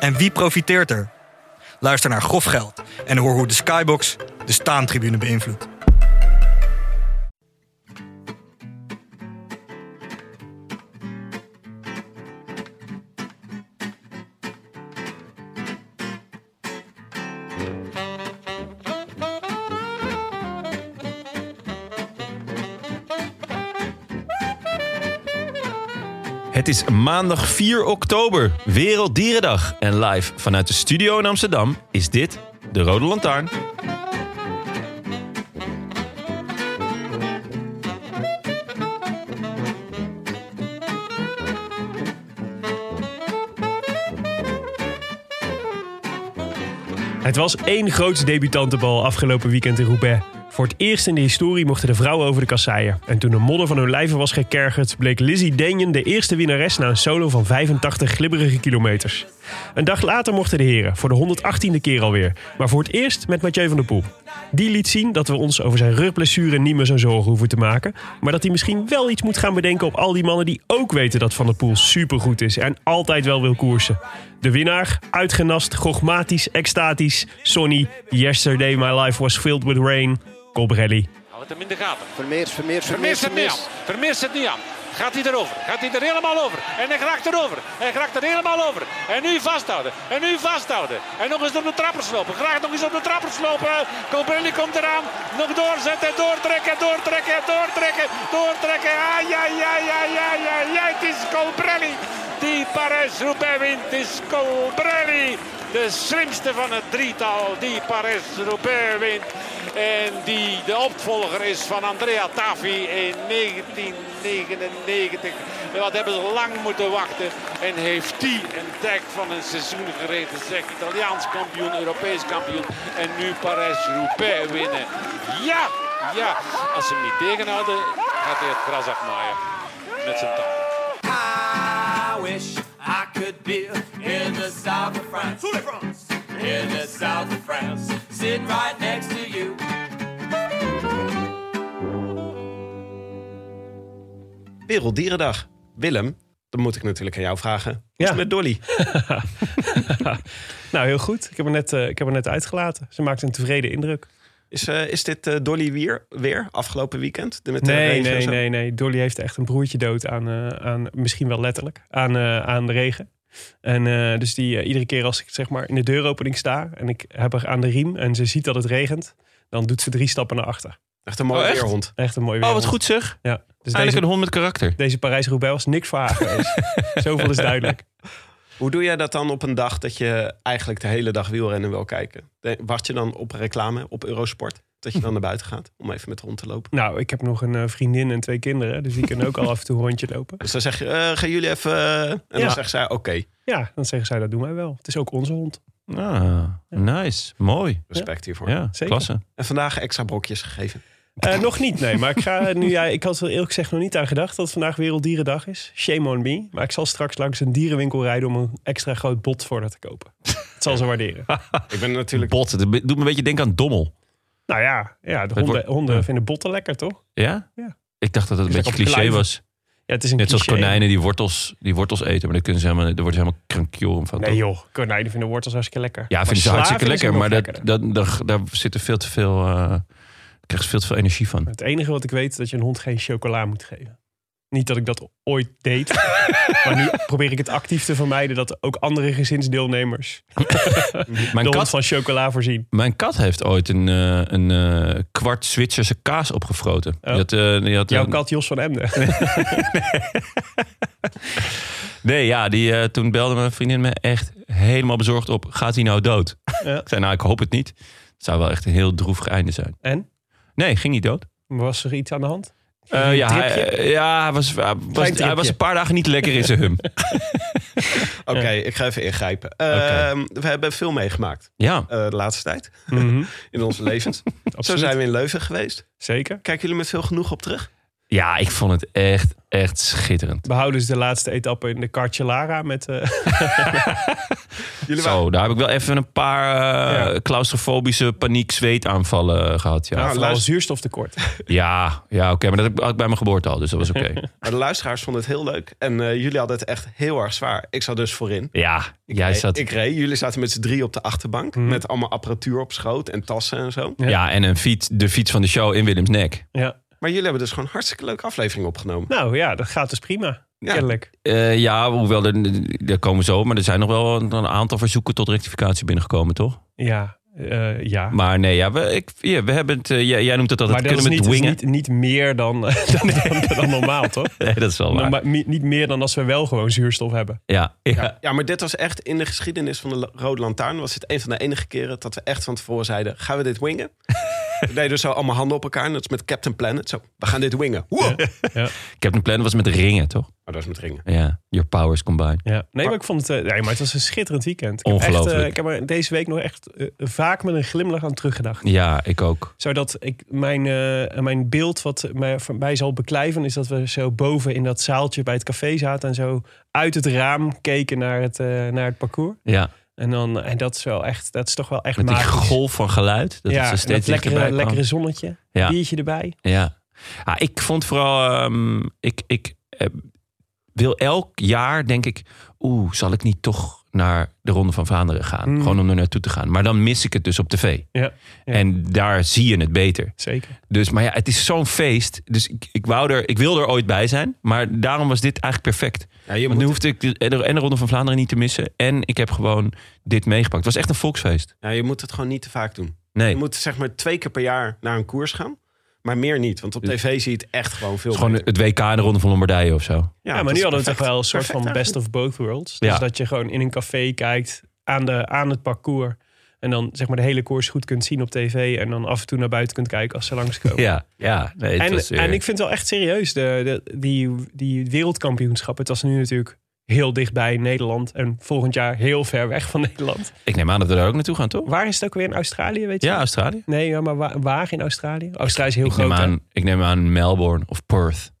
En wie profiteert er? Luister naar Grof Geld en hoor hoe de Skybox de staantribune beïnvloedt. Het is maandag 4 oktober, Werelddierendag. En live vanuit de studio in Amsterdam is dit de Rode Lantaarn. Het was één groots debutantenbal afgelopen weekend in Roubaix. Voor het eerst in de historie mochten de vrouwen over de kasseien. En toen de modder van hun lijven was gekergerd, bleek Lizzie Denjen de eerste winnares na een solo van 85 glibberige kilometers. Een dag later mochten de heren, voor de 118e keer alweer, maar voor het eerst met Mathieu van der Poel. Die liet zien dat we ons over zijn rugblessure niet meer zo'n zorgen hoeven te maken, maar dat hij misschien wel iets moet gaan bedenken op al die mannen die ook weten dat Van der Poel supergoed is en altijd wel wil koersen. De winnaar, uitgenast, gogmatisch, extatisch, Sonny, yesterday my life was filled with rain, Colbrelli. Hou het hem in de gaten. Vermeers, Vermeers, Vermeers Vermeers, het niet aan. Vermeers het niet aan. Gaat hij erover? Gaat hij er helemaal over? En hij raakt erover. Hij raakt er helemaal over. En nu vasthouden. En nu vasthouden. En nog eens op de trappers lopen. Graag nog eens op de trappers lopen. Colbrelli komt eraan. Nog doorzetten. Doortrekken. Doortrekken. Doortrekken. Doortrekken. Ah, ja, ja, ja, ja, ja, ja. Het is Colbrelli. Die Parijs-Roubaix wint. Het is Colbrelli. De slimste van het drietal. Die Parijs-Roubaix wint. En die de opvolger is van Andrea Tafi in 1999. En Wat hebben ze lang moeten wachten. En heeft die een dek van een seizoen gereden. Zeg, Italiaans kampioen, Europees kampioen. En nu Parijs-Roubaix winnen. Ja, ja. Als ze hem niet tegenhouden, gaat hij het gras afmaaien. Met zijn tanden. I wish I could be in the south of France. In the south of France, sitting right next to you. Werelddierendag. Willem, dat moet ik natuurlijk aan jou vragen. Hoe is Ja. het met Dolly? Nou, heel goed. Ik heb haar net, eh, ik heb haar net uitgelaten. Ze maakt een tevreden indruk. Is, eh, is dit eh, Dolly weer, weer afgelopen weekend? De- met de Nee, regen en nee, zo? nee, nee. Dolly heeft echt een broertje dood aan, eh, aan misschien wel letterlijk, aan, eh, aan de regen. En eh, dus die, eh, iedere keer als ik zeg maar in de deuropening sta en ik heb haar aan de riem en ze ziet dat het regent, dan doet ze drie stappen naar achter. Echt een mooie Oh, echt? weerhond. Echt een mooi weer. Oh, wat goed zeg. Ja. Dus Eindelijk deze, een hond met karakter. deze Parijs-Roubaix was niks voor haar geweest. Zoveel is duidelijk. Hoe doe jij dat dan op een dag dat je eigenlijk de hele dag wielrennen wil kijken? De- Wacht je dan op reclame op Eurosport? Dat je dan naar buiten gaat om even met de hond te lopen? Nou, ik heb nog een eh, vriendin en twee kinderen, dus die kunnen ook al af en toe een rondje lopen. Dus dan zeg je, eh, gaan jullie even... eh, en dan Ja. zegt zij, oké, Ja, dan zeggen zij dat doen wij wel. Het is ook onze hond. Ah, nice. Mooi. respect hiervoor. Ja, Zeker. klasse. En vandaag extra brokjes gegeven. Eh, nog niet, nee. Maar ik, ga nu, ja, ik had er eerlijk gezegd nog niet aan gedacht dat het vandaag Werelddierendag is. Shame on me. Maar ik zal straks langs een dierenwinkel rijden om een extra groot bot voor haar te kopen. Het zal ze waarderen. Ik ben natuurlijk... Bot, het doet me een beetje denken aan dommel. Nou ja, ja de wordt- honden, honden ja. vinden botten lekker, toch? Ja? Ja. Ik dacht dat het een Is dat beetje op cliché kluiven? was. Ja, het is een Net zoals cliché. konijnen die wortels, die wortels eten. Maar daar, kunnen ze helemaal, daar worden ze helemaal krankjoren van. Nee joh, konijnen vinden wortels hartstikke lekker. ja, vinden ze sla hartstikke vinden ze lekker. Maar nog dat, lekkerder. dat, daar, daar zit er veel te veel... eh krijg je veel te veel energie van. Het enige wat ik weet is dat je een hond geen chocola moet geven. Niet dat ik dat ooit deed. maar nu probeer ik het actief te vermijden dat ook andere gezinsdeelnemers Mijn de hond kat, van chocola voorzien. mijn kat heeft ooit een, eh, een eh, kwart Zwitserse kaas opgefroten. Die had, eh, die had, Oh. Jouw eh, kat Jos van Emden. Nee, ja, die, eh, toen belde mijn vriendin me echt helemaal bezorgd op. Gaat hij nou dood? Ja. Ik zei, nou, ik hoop het niet. Het zou wel echt een heel droevig einde zijn. En? Nee, ging niet dood. Was er iets aan de hand? Eh, ja, hij, tripje? eh, ja, hij was, hij was, hij tripje. was een paar dagen niet lekker in zijn hum. Oké, ik ga even ingrijpen. Ehm, We hebben veel meegemaakt Ja, eh, de laatste tijd Mhm, in onze levens. Zo absoluut. zijn we in Leuven geweest. Zeker. Kijken jullie met veel genoeg op terug? ja ik vond het echt, echt schitterend. We houden dus de laatste etappe in de Carcellara met... Nou, eh, Jullie waren Zo, daar heb ik wel even een paar eh, claustrofobische paniek zweetaanvallen eh, gehad. Ja, Nou, ja, vooral luister- zuurstoftekort. ja, oké, maar dat heb ik- had ik bij mijn geboorte al, dus dat was oké. Maar de luisteraars vonden het heel leuk. En eh, jullie hadden het echt heel erg zwaar. Ik zat dus voorin. ja, jij Ik- zat... Ik reed. Jullie zaten met z'n drie op de achterbank. Mhm. Met allemaal apparatuur op schoot en tassen en zo. Ja, en een fiets, de fiets van de show in Willems nek. Ja. Maar jullie hebben dus gewoon een hartstikke leuke aflevering opgenomen. Nou ja, dat gaat dus prima. Ja. Kennelijk. Eh, ja, hoewel, er, daar komen we zo. Maar er zijn nog wel een, een aantal verzoeken tot rectificatie binnengekomen, toch? Ja. eh, ja. Maar nee, ja, we, ik, ja, we hebben het... eh, jij, jij noemt het altijd, Maar dat is kunnen we niet, het is wingen? niet, niet meer dan, dan, dan- dan normaal, toch? Nee, dat is wel waar. Maar, mi- niet meer dan als we wel gewoon zuurstof hebben. ja, ja. Ja, maar dit was echt in de geschiedenis van de Lo- Rode Lantaarn. Was dit een van de enige keren dat we echt van tevoren zeiden: gaan we dit wingen? We deden zo allemaal handen op elkaar. En dat is met Captain Planet. Zo, we gaan dit wingen. Wow. Captain Planet was met ringen, toch? Maar dat is met ringen. Ja, your powers combined. Ja. Nee, maar ik vond het... eh, nee, maar het was een schitterend weekend. Ik heb echt, Ongelooflijk. eh, ik heb er deze week nog echt eh, vaak met een glimlach aan teruggedacht. Ja, ik ook. Zodat ik mijn, eh, mijn beeld wat mij, van mij zal beklijven... is dat we zo boven in dat zaaltje bij het café zaten... en zo uit het raam keken naar het, eh, naar het parcours. Ja, En, dan, en dat, is wel echt, dat is toch wel echt met die magisch. golf van geluid. Dat ja, is er en dat steeds lekkere, dichterbij kwam. lekkere zonnetje, Ja. biertje erbij. Ja. ja ik vond vooral... ehm, ik ik eh, wil elk jaar, denk ik... Oeh, zal ik niet toch naar de Ronde van Vlaanderen gaan? Mm. Gewoon om er naartoe te gaan. Maar dan mis ik het dus op tv. Ja, Ja. En daar zie je het beter. zeker. Dus, maar ja, het is zo'n feest. Dus ik, ik, wou er, ik wil er ooit bij zijn. Maar daarom was dit eigenlijk perfect. Ja, je Want nu moet, hoefde ik de- en de, en de Ronde van Vlaanderen niet te missen. En ik heb gewoon dit meegepakt. Het was echt een volksfeest. ja, Nou, je moet het gewoon niet te vaak doen. Nee, Je moet zeg maar twee keer per jaar naar een koers gaan. Maar meer niet. Want op tv zie je het echt gewoon veel Dus- het is gewoon beter. het WK en de Ronde van Lombardije of zo. Ja, dat maar is nu hadden we perfect. toch wel een soort van Perfect best of both worlds. Dus Ja. dat je gewoon in een café kijkt aan, de, aan het parcours... en dan zeg maar de hele koers goed kunt zien op tv... en dan af en toe naar buiten kunt kijken als ze langskomen. Ja, ja. Nee, het En, was eh, weer- en ik vind het wel echt serieus, de, de, die, die wereldkampioenschap. Het was nu natuurlijk heel dichtbij Nederland en volgend jaar heel ver weg van Nederland. ik neem aan dat we daar ook naartoe gaan, toch? Waar is het ook weer in Australië, weet je? Ja, Australië. Nee, ja, maar waar, waar in Australië? Australië is heel Ik groot. neem, hè? aan, ik neem aan Melbourne of Perth.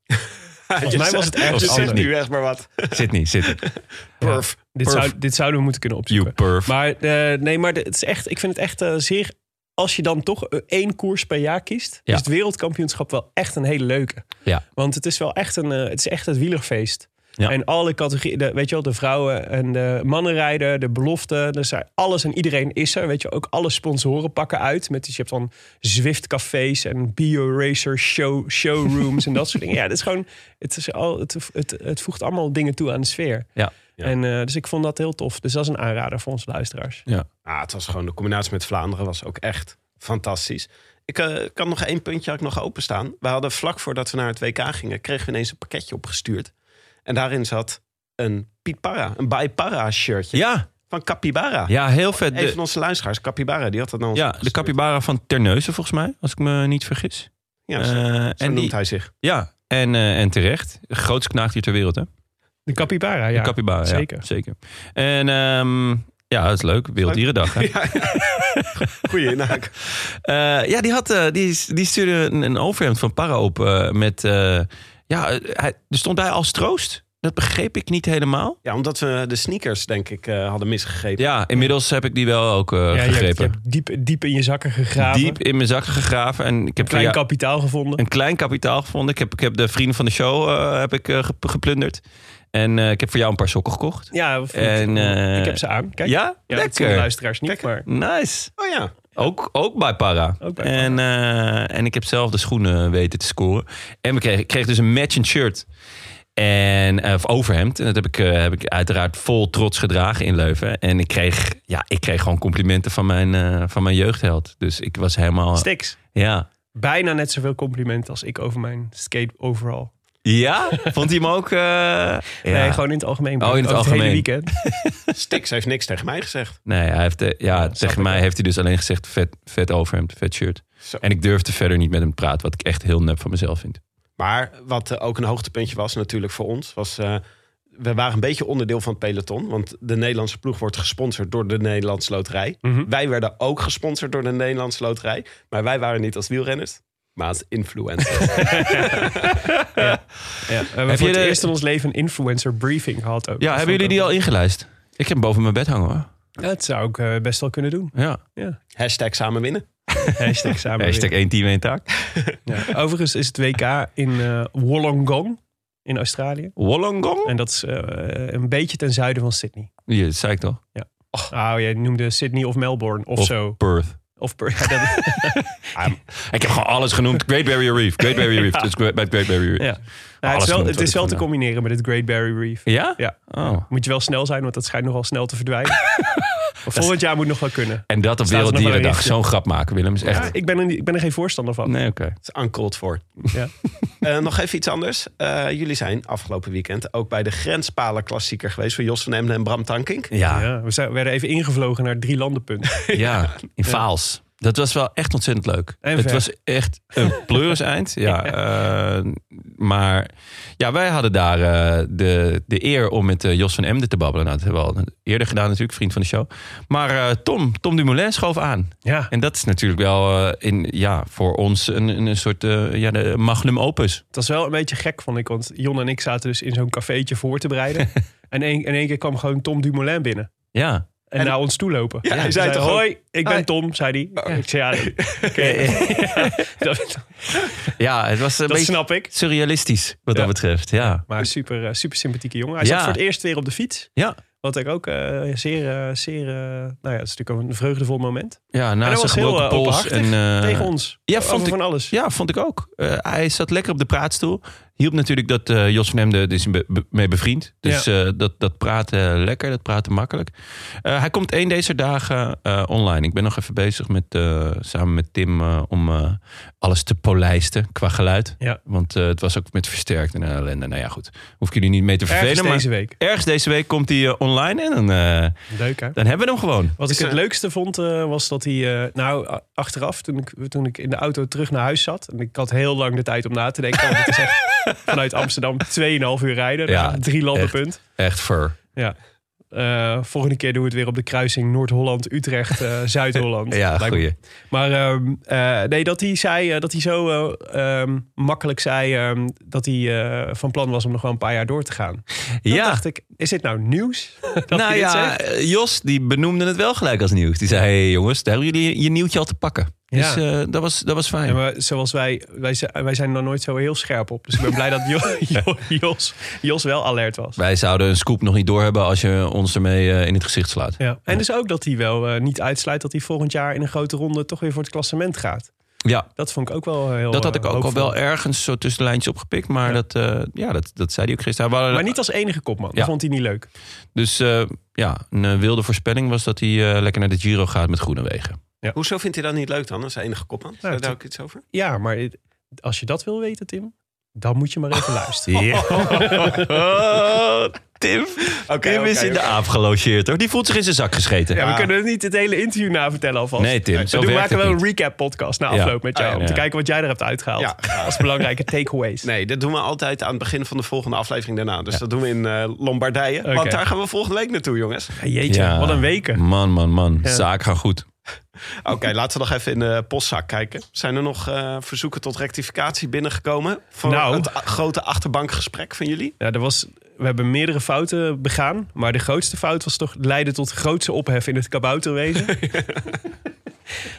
Volgens mij was het ergens Je zegt anders. nu echt maar wat. Sydney, Sydney. Perf. Dit, Perth. zou, dit zouden we moeten kunnen You opzoeken. Perth. Maar eh, nee, maar de- het is echt, ik vind het echt eh, zeer. Als je dan toch eh, één koers per jaar kiest, Ja. is het wereldkampioenschap wel echt een hele leuke. Ja. Want het is wel echt een, eh, het is echt het wielerfeest. Ja. En alle categorieën, de- weet je wel, de vrouwen en de mannenrijden, de belofte, dus er- alles en iedereen is er. Weet je, wel. ook alle sponsoren pakken uit. Met, dus je hebt dan Zwift-cafés en BioRacer show, showrooms en dat soort dingen. Ja, het is gewoon, het, is al, het, het, het voegt allemaal dingen toe aan de sfeer. Ja. En, eh, dus ik vond dat heel tof. Dus dat is een aanrader voor onze luisteraars. Ah, het was gewoon de combinatie met Vlaanderen was ook echt fantastisch. Ik eh, kan nog één puntje had ik nog openstaan. We hadden vlak voordat we naar het WK gingen, kregen we ineens een pakketje opgestuurd. En daarin zat een Piet Parra, een Bij Parra shirtje Ja, van Capybara. ja, heel vet. Een van De, onze luisteraars, Capybara, die had dat nou. ja, de capybara van Terneuzen, volgens mij. Als ik me niet vergis. Ja, Eh, zo, zo en noemt die, hij zich. Ja, en, eh, en terecht. De grootste knaagdier ter wereld, hè? De capybara, ja. de capybara. zeker. Ja, zeker. En ehm, ja, dat is leuk. Werelddierendag, hè? Goeie inhaak. Eh, ja, die, had, eh, die, die stuurde een, een overhemd van Para op eh, met... eh, ja, eh, hij, er stond bij als troost. Dat begreep ik niet helemaal. Ja, omdat we de sneakers, denk ik, eh, hadden misgegrepen. Ja, inmiddels heb ik die wel ook eh, Ja, je hebt, je gegrepen. hebt diep, diep in je zakken gegraven. Diep in mijn zakken gegraven. En ik heb klein ja, kapitaal gevonden. een klein kapitaal gevonden. Ik heb, ik heb de vrienden van de show eh, heb ik, eh, gep- geplunderd. En eh, ik heb voor jou een paar sokken gekocht. Ja, we vonden- En, eh, ik heb ze aan. Kijk, ja? ja dat zien de Lekker. luisteraars niet, maar Nice. Oh ja, Ook, ook bij Para. Ook bij Para. en, eh, en ik heb zelf de schoenen weten te scoren. En we kregen, ik kreeg dus een matchend shirt. En, eh, of overhemd. En dat heb ik, eh, heb ik uiteraard vol trots gedragen in Leuven. En ik kreeg, ja, ik kreeg gewoon complimenten van mijn, eh, van mijn jeugdheld. Dus ik was helemaal... Stix. Ja. Bijna net zoveel complimenten als ik over mijn skate overall. Ja? Vond hij hem ook... eh, Nee, ja. gewoon in het algemeen. Oh, in het Over hele algemeen. weekend. Stix heeft niks tegen mij gezegd. Nee, hij heeft, eh, ja, tegen mij heeft hij dus alleen gezegd vet, vet overhemd, vet shirt. Zo. En ik durfde verder niet met hem te praten, wat ik echt heel nep van mezelf vind. Maar wat eh, ook een hoogtepuntje was natuurlijk voor ons, was... eh, we waren een beetje onderdeel van het peloton. Want de Nederlandse ploeg wordt gesponsord door de Nederlandse Loterij. Wij werden ook gesponsord door de Nederlandse Loterij. Maar wij waren niet als wielrenners, maar als influencers. We hebben Heb voor je het de- eerst in ons leven een influencer briefing gehad. Ook. Ja, Dat hebben vond jullie die ik al ingelijst? Ik heb hem boven mijn bed hangen hoor. ook- Dat zou ik eh, best wel kunnen doen. Ja. Ja. Hashtag samen winnen. Hashtag samen. Hashtag één team, één taak. winnen. Ja. Overigens is het WK in eh, Wollongong in Australië. Wollongong? En dat is eh, een beetje ten zuiden van Sydney. Ja, dat zei ik toch? Oh, jij noemde Sydney of Melbourne of, Of zo. Perth. Of per- ja, dat- Ik heb gewoon alles genoemd. Great Barrier Reef. Great Barrier Reef. Dus bij het Great Barrier Reef. ja. Ja? Nou, het is wel, genoemd het wat is ik wel te vandaan. combineren met het Great Barrier Reef. Ja. Oh. Moet je wel snel zijn, want dat schijnt nogal snel te verdwijnen. Maar volgend jaar moet nog wel kunnen. En dat op Staat er nog wel in Werelddierendag. je- Zo'n grap maken, Willem. Is Ja, echt... ik, ben er, niet- ik ben er geen voorstander van. Nee, oké. Het is uncalled for. Ja. Eh, nog even iets anders. Eh, jullie zijn afgelopen weekend ook bij de Grenspalen Klassieker geweest... voor Jos van Emden en Bram Tankink. Ja. Ja, we zijn, werden even ingevlogen naar het drie landenpunt. Ah. Ja, in Vaals. Dat was wel echt ontzettend leuk. En het ver. was echt een pleuriseind. Ja, eh, maar ja, wij hadden daar eh, de, de eer om met eh, Jos van Emden te babbelen. Nou, dat hebben we al eerder gedaan natuurlijk, vriend van de show. Maar eh, Tom, Tom Dumoulin schoof aan. Ja, En dat is natuurlijk wel eh, in, ja, voor ons een, een een soort eh, ja, de magnum opus. het was wel een beetje gek, vond ik. Want Jon en ik zaten dus in zo'n cafeetje voor te bereiden. en een- in één keer kwam gewoon Tom Dumoulin binnen. Ja. En, naar ons toe lopen. Ja, hij zei toch ook- hoi, ik ben Hoi. Oh. Tom, zei hij. Ik zei, ja, nee. dat, ja, het was een dat beetje snap ik. surrealistisch wat Ja. dat betreft. Ja, Maar super, eh, super sympathieke jongen. Hij Ja. zat voor het eerst weer op de fiets. ja. Wat ik ook eh, zeer, eh, zeer eh, nou ja, het is natuurlijk een vreugdevol moment. ja Maar na hij zijn was heel Nou, gebroken eh, pols. openhartig En, eh, tegen ons. ja, Over vond ik- van alles. Ja, vond ik ook. Eh, hij zat lekker op de praatstoel. Hielp natuurlijk dat eh, Jos van Hemden dus be- be- mee bevriend. Dus eh, dat, dat praten lekker, dat praten makkelijk. Eh, hij komt één deze dagen eh, online. Ik ben nog even bezig met, eh, samen met Tim eh, om eh, alles te polijsten qua geluid. Ja. Want eh, het was ook met versterkt en eh, ellende. Nou ja, goed. Hoef ik jullie niet mee te vervelen. Ergens maar deze week. ergens deze week komt hij eh, online en dan, eh, Leuk hè? dan hebben we hem gewoon. Wat ik Is, het eh, leukste vond, eh, was dat hij... eh, nou, a- achteraf, toen ik, toen ik in de auto terug naar huis zat... en ik had heel lang de tijd om na te denken... want het is echt vanuit Amsterdam 2,5 uur rijden. Ja, naar drie landenpunt. Echt ver. Ja. Eh, volgende keer doen we het weer op de kruising Noord-Holland, Utrecht, eh, Zuid-Holland. Ja, Lijkt me- goeie. Maar ehm, eh, nee, dat hij zei eh, dat hij zo eh, ehm, makkelijk zei ehm, dat hij eh, van plan was om nog wel een paar jaar door te gaan. Dan Ja. dacht ik, is dit nou nieuws? dat hij nou dit ja, zegt? eh, Jos die benoemde het wel gelijk als nieuws. Die zei, hé hey, jongens, daar hebben jullie je nieuwtje al te pakken. Dus eh, dat, was, dat was fijn. Ja, maar zoals wij, wij, zi- wij zijn daar nooit zo heel scherp op. Dus ik ben blij dat Jo- Jo- Jos, Jos wel alert was. Wij zouden een scoop nog niet doorhebben als je ons ermee eh, in het gezicht slaat. Ja. En dus ook dat hij wel eh, niet uitsluit dat hij volgend jaar in een grote ronde toch weer voor het klassement gaat. Ja, Dat vond ik ook wel heel dat had eh, ik ook al hoopvol. wel ergens zo tussen de lijntjes opgepikt. Maar dat, eh, ja, dat, dat zei hij ook gisteren. Hij wou- Maar niet als enige kopman. Ja. Dat vond hij niet leuk. Nou, Dus eh, ja, een eh, wilde voorspelling was dat hij eh, lekker naar de Giro gaat met Groenewegen. Hoezo vindt hij dat niet leuk dan, als enige kopman? Zou Nou, daar het- ook iets over? Ja, maar het- als je dat wil weten, Tim, dan moet je maar even luisteren. Oh, Tim, Tim is oké, in de aap gelogeerd hoor. Die voelt zich in zijn zak gescheten. Ah. Ja, we kunnen het niet het hele interview na vertellen alvast. Nee, Tim, We zo doen- werkt maken het wel niet. een recap-podcast na Ja. afloop met jou. Ah, ja, Om te ja. kijken wat jij er hebt uitgehaald. Ja. Als belangrijke takeaways. Nee, dat doen we altijd aan het begin van de volgende aflevering daarna. Dus dat doen we in eh, Lombardije. Oké. Want daar gaan we volgende week naartoe, jongens. Ja, Jeetje, Ja. wat een weken. Man, man, man. Zaak gaan goed. Oké, laten we nog even in de postzak kijken. Zijn er nog eh, verzoeken tot rectificatie binnengekomen? Van Nou. het a- grote achterbankgesprek van jullie? Ja, er was, we hebben meerdere fouten begaan. Maar de grootste fout was toch leiden tot grootste ophef in het kabouterwezen.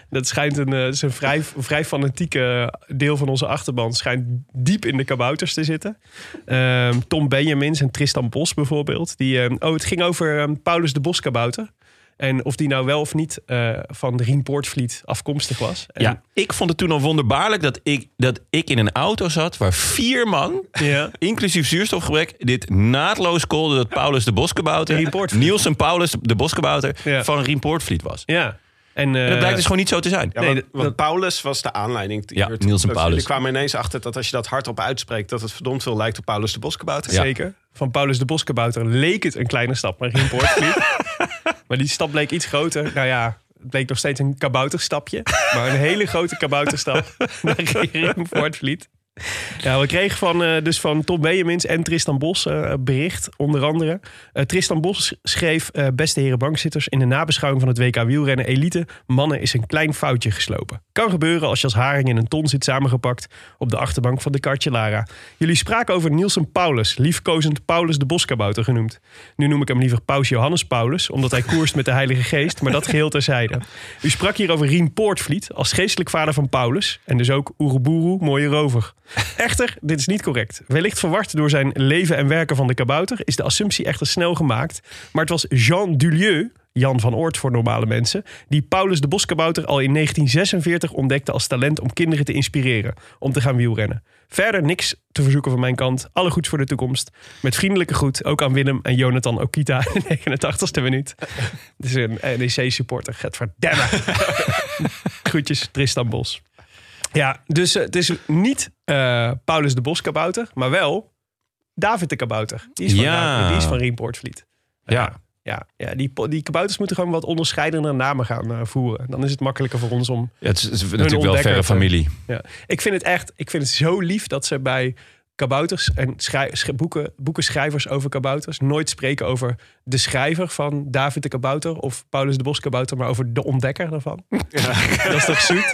Dat schijnt een, eh, dat is een vrij, een vrij fanatieke deel van onze achterban. Schijnt diep in de kabouters te zitten. Ehm, Tom Benjamins en Tristan Bos bijvoorbeeld. Die, ehm, oh, het ging over ehm, Paulus de Boskabouter. En of die nou wel of niet eh, van de Rien Poortvliet afkomstig was. En- Ja, ik vond het toen al wonderbaarlijk dat ik, dat ik in een auto zat waar vier man, Ja. inclusief zuurstofgebrek, dit naadloos koolde dat Paulus de Rien Boskebouter, Poortvliet. Niels en Paulus de Boskebouter Ja. van Rien Poortvliet was. ja. En, eh, En dat blijkt dus gewoon niet zo te zijn. Ja, Nee, want, dat- want dat- Paulus was de aanleiding. Ja, Hier- Niels en dat- Paulus. Jullie kwamen ineens achter dat als je dat hardop uitspreekt... dat het verdomd veel lijkt op Paulus de Boskebouter. Ja. Zeker. Van Paulus de Boskebouter leek het een kleine stap naar Rien Poortvliet. maar die stap bleek iets groter. Nou ja, het bleek nog steeds een kabouterstapje. Maar een hele grote kabouterstap naar Rien Poortvliet. Ja, we kregen van, eh, dus van Tom Benjamins en Tristan Bos eh, bericht, onder andere. Eh, Tristan Bos schreef, eh, beste heren bankzitters, in de nabeschouwing van het WK wielrennen elite, mannen is een klein foutje geslopen. Kan gebeuren als je als haring in een ton zit samengepakt op de achterbank van de Cartellara. Jullie spraken over Nielsen Paulus, liefkozend Paulus de Boskabouter genoemd. Nu noem ik hem liever Paus Johannes Paulus, omdat hij koerst met de Heilige Geest, maar dat geheel terzijde. U sprak hier over Rien Poortvliet als geestelijk vader van Paulus en dus ook Oeruburu, mooie rover. Echter, dit is niet correct. Wellicht verward door zijn leven en werken van de kabouter is de assumptie echter snel gemaakt, maar het was Jean Dulieu. Jan van Oort voor normale mensen, die Paulus de Boskabouter al in 1946 ontdekte als talent om kinderen te inspireren om te gaan wielrennen. Verder niks te verzoeken van mijn kant. Alle goeds voor de toekomst. Met vriendelijke groet ook aan Willem en Jonathan Okita in de 89ste minuut. Dit is een E NEC-supporter. Get verdemmen. Groetjes, Tristan Bos. Ja, dus eh, het is niet eh, Paulus de Bos kabouter, maar wel David de kabouter. Die is van, Ja. ja. die is van Riempoortvliet. Ja. Ja, ja die, po- die kabouters moeten gewoon wat onderscheidender namen gaan eh, voeren. Dan is het makkelijker voor ons om Ja, het is, het is natuurlijk wel ontdekker, verre eh, familie. ja. Ik vind het echt, ik vind het zo lief dat ze bij kabouters en schrij- sch- boeken, boekenschrijvers over kabouters nooit spreken over de schrijver van David de Kabouter of Paulus de Bos Kabouter, maar over de ontdekker daarvan. Dat is toch zoet?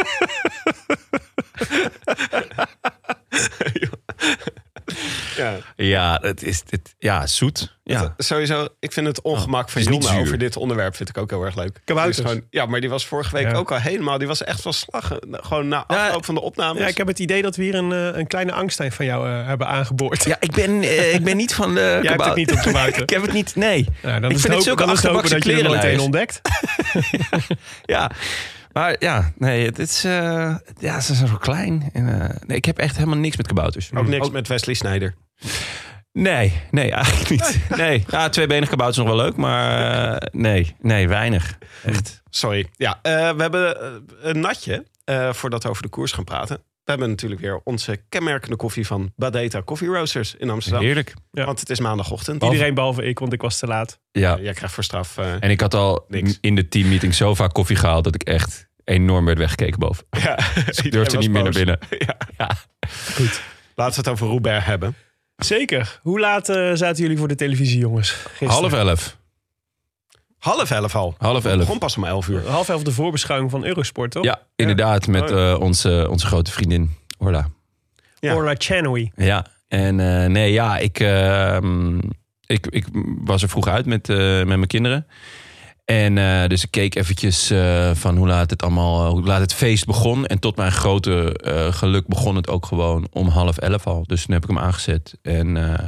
Ja. Ja, het is het, ja, zoet. Ja. Oh, Sowieso, ik vind het ongemak van is niet Jonna zuur. over dit onderwerp vind ik ook heel erg leuk. Kabouters. Die is gewoon- ja, maar die was vorige week Ja. ook al helemaal... Die was echt van slag. eh, Gewoon na afloop van de opnames. Ja, ik heb het idee dat we hier een, eh, een kleine angstijn van jou eh, hebben aangeboord. Ja, ik ben, eh, ik ben niet van de Jij hebt kabouter. het niet op kabouter. Ik heb het niet, nee. Nou, dan ik is vind het het zulke hopen, dan is het hopen achterbakse dat je er nooit een klerenlijst. ontdekt. Ja, maar ja, nee, het is, eh, ja, ze zijn zo klein. En, eh, nee, ik heb echt helemaal niks met kabouters. Ook niks met Wesley Snijder. Nee, nee, eigenlijk niet. Nee, ja, tweebenig kabouters nog wel leuk, maar eh, nee, nee, weinig. Echt. Sorry. Ja, eh, we hebben eh, een natje eh, voordat we over de koers gaan praten. We hebben natuurlijk weer onze kenmerkende koffie van Badeta Coffee Roasters in Amsterdam. Heerlijk. Ja. Want het is maandagochtend. Iedereen behalve ik, want ik was te laat. Ja, Jij krijgt voor straf. eh, en ik had al Niks. in de teammeeting zo vaak koffie gehaald dat ik echt enorm werd weggekeken boven. ja. Ik durfde niet meer naar binnen. Laten we het over Robert hebben. Zeker. Hoe laat eh, zaten jullie voor de televisie, jongens? Gisteren? Half elf. Half elf al. Half elf. Gewoon pas om elf uur. half elf de voorbeschouwing van Eurosport, toch? Ja, inderdaad, met Oh, eh, onze, onze grote vriendin Orla. Ja. Orla Chanoui. Ja, en eh, nee, ja, ik, eh, ik, ik was er vroeg uit met, eh, met mijn kinderen. En eh, dus ik keek eventjes eh, van hoe laat het allemaal, eh, hoe laat het feest begon. En tot mijn grote eh, geluk begon het ook gewoon om half elf al. Dus toen heb ik hem aangezet en eh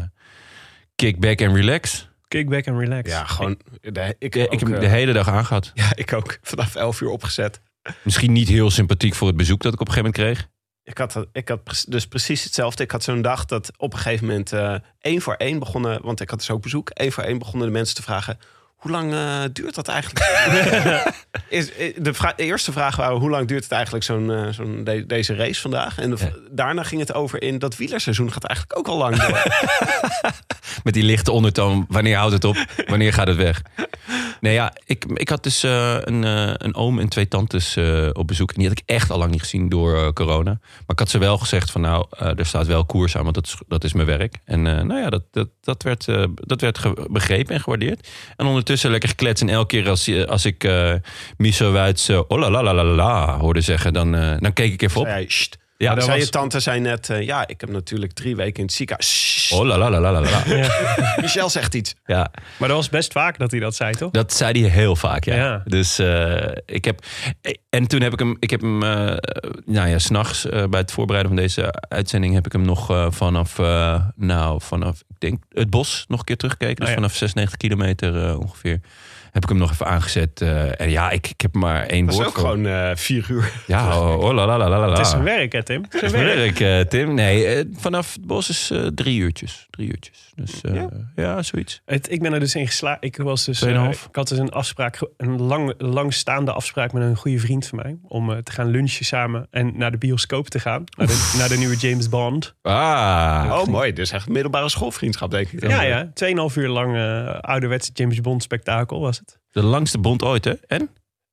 kick back en relax. Kick back and relax. Ja, gewoon. de- ik, Ja, ook, ik heb hem eh, de hele dag aangehad. ja, ik ook. Vanaf elf uur opgezet. Misschien niet heel sympathiek voor het bezoek dat ik op een gegeven moment kreeg. Ik had, dat- ik had pre- dus precies hetzelfde. Ik had zo'n dag dat op een gegeven moment eh, één voor één begonnen. Want ik had dus ook bezoek. Één voor één begonnen de mensen te vragen. Hoe lang eh, duurt dat eigenlijk? Is, eh, de, vra- de eerste vraag waren: hoe lang duurt het eigenlijk zo'n, eh, zo'n de- deze race vandaag? En de- Ja. daarna ging het over in dat wielerseizoen gaat eigenlijk ook al lang door. Met die lichte ondertoon. Wanneer houdt het op? Wanneer gaat het weg? Nee, ja, ik, ik had dus eh, een, eh, een oom en twee tantes eh, op bezoek. En die had ik echt al lang niet gezien door eh, corona. Maar ik had ze wel gezegd van nou, eh, er staat wel koers aan, want dat is, dat is mijn werk. En eh, nou ja, dat, dat, dat werd, eh, dat werd ge- begrepen en gewaardeerd. En ondertussen lekker gekletst. En elke keer als, je- als ik eh Miso Wuits eh, oh la la la la la hoorde zeggen, dan, eh, dan keek ik even op. Zei hij, "Sst." Ja, Maar dat zei je was... tante zei net: eh, ja, ik heb natuurlijk drie weken in het ziekenhuis. Sst. Oh la la la la la la. Michel zegt iets. Ja, Maar dat was best vaak dat hij dat zei, toch? Dat zei hij heel vaak, ja. Ja. Dus eh, ik heb... En toen heb ik hem... Ik heb hem eh, nou ja, s'nachts eh bij het voorbereiden van deze uitzending... heb ik hem nog eh, vanaf... eh, nou, vanaf... Ik denk het bos nog een keer teruggekeken. Dus Oh ja. vanaf 96 kilometer eh, ongeveer. Heb ik hem nog even aangezet. eh, en ja, ik, ik heb maar één Dat was woord voor. ook gewoon eh, vier uur. Ja, oh, oh, la, la, la, la, la. Het is zijn werk, hè, Tim? Het is zijn Het werk. is werk, eh, Tim. Nee, eh, vanaf het bos is eh, drie uurtjes. Drie uurtjes. Dus eh, Ja? ja? zoiets. Het- ik ben er dus in geslaagd. Ik, was dus, eh, Tweeënhalf. ik had dus een afspraak, ge- een lang, langstaande afspraak met een goede vriend van mij. Om eh, te gaan lunchen samen en naar de bioscoop te gaan. Naar de, naar de nieuwe James Bond. Ah, Oh, mooi. Dus echt middelbare schoolvriendschap, denk ik. dan. Ja, ja. Tweeënhalf uur lang eh ouderwetse James Bond spektakel was het. de langste bond ooit, hè? En?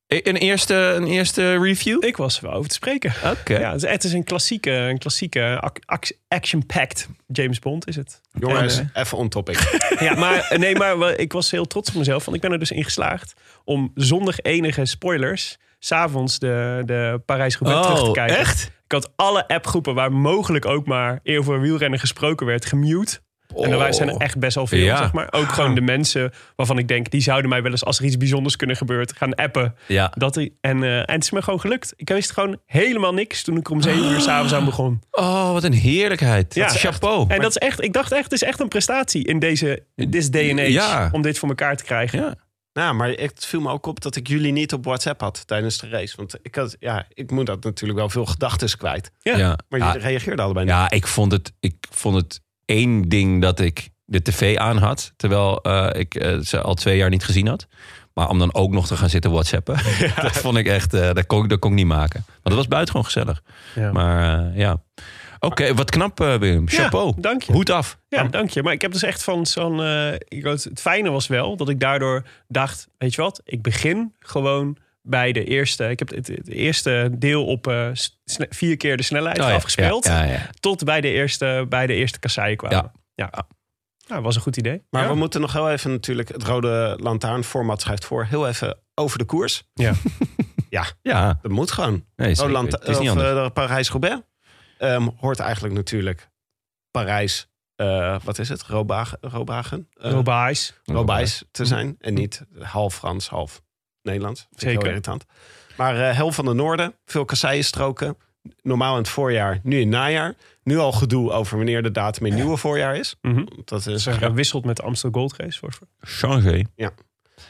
E- Een eerste, een eerste review? Ik was er wel over te spreken. Ah, Oké. Ja, het is- het is een klassieke, een klassieke ac- ac- action-packed James Bond is het. eh, Jongens, En, even on topic. Ja, maar, nee, maar wel, ik was heel trots op mezelf. Want ik ben er dus in geslaagd om zonder enige spoilers... s'avonds de, de Parijs-Roubaix Oh, terug te kijken. echt? Ik had alle appgroepen waar mogelijk ook maar eer voor wielrennen gesproken werd gemute. En daarbij zijn er echt best wel veel, Ja. zeg maar. Ook gewoon de mensen waarvan ik denk... die zouden mij wel eens, als er iets bijzonders kunnen gebeuren... gaan appen. Ja. Dat, die- en, eh, en het is me gewoon gelukt. Ik wist gewoon helemaal niks toen ik er om zeven uur s'avonds aan begon. Oh, wat een heerlijkheid. Ja. Ja, chapeau. En dat is echt, ik dacht echt, het is echt een prestatie in deze in this day and age Ja. om dit voor elkaar te krijgen. ja. nou, maar het viel me ook op dat ik jullie niet op WhatsApp had tijdens de race. Want ik, had, ja, ik moet dat natuurlijk wel veel gedachten kwijt. Ja. Ja. Ja. Ah, Maar jullie reageerden allebei niet. Ja, ik vond het, ik vond het één ding dat ik de tv aan had. Terwijl eh, ik eh, ze al twee jaar niet gezien had. Maar om dan ook nog te gaan zitten whatsappen. Dat vond ik echt, eh, dat, kon, ik- dat kon ik niet maken. Maar dat was buitengewoon gezellig. Ja. Maar eh, ja. Oké, wat knap eh, Willem. Chapeau. dank je. Hoed af. Ja, dank je. Maar ik heb dus echt van zo'n. eh, ik wou het- het fijne was wel dat ik daardoor dacht: weet je wat, ik begin gewoon bij de eerste. Ik heb het, het eerste deel op eh, s- sne- vier keer de snelheid Oh ja, afgespeeld. Ja, ja, ja. Tot bij de eerste, bij de eerste kasseien kwamen. Ja. Ja. Nou, was een goed idee. Maar ja. we moeten nog heel even natuurlijk... Het Rode Lantaarn-format schrijft voor. Heel even over de koers. Ja. ja, Ja, dat moet gewoon. nee, zeker. Roland, het is niet Oh, of, anders. eh, Parijs-Roubaix ehm, hoort eigenlijk natuurlijk Parijs, eh, wat is het, Robagen, Robagen, Eh, Robaais. Robijs te zijn. En niet half Frans, half Nederlands. Vind ik Zeker. Heel irritant. Maar eh hel van de noorden, veel kasseienstroken. Normaal in het voorjaar, nu in het najaar. Nu al gedoe over wanneer de datum in het nieuwe voorjaar is. Mhm. Dat is Ze wisselt met de Amstel Gold Race. Voor. Changé.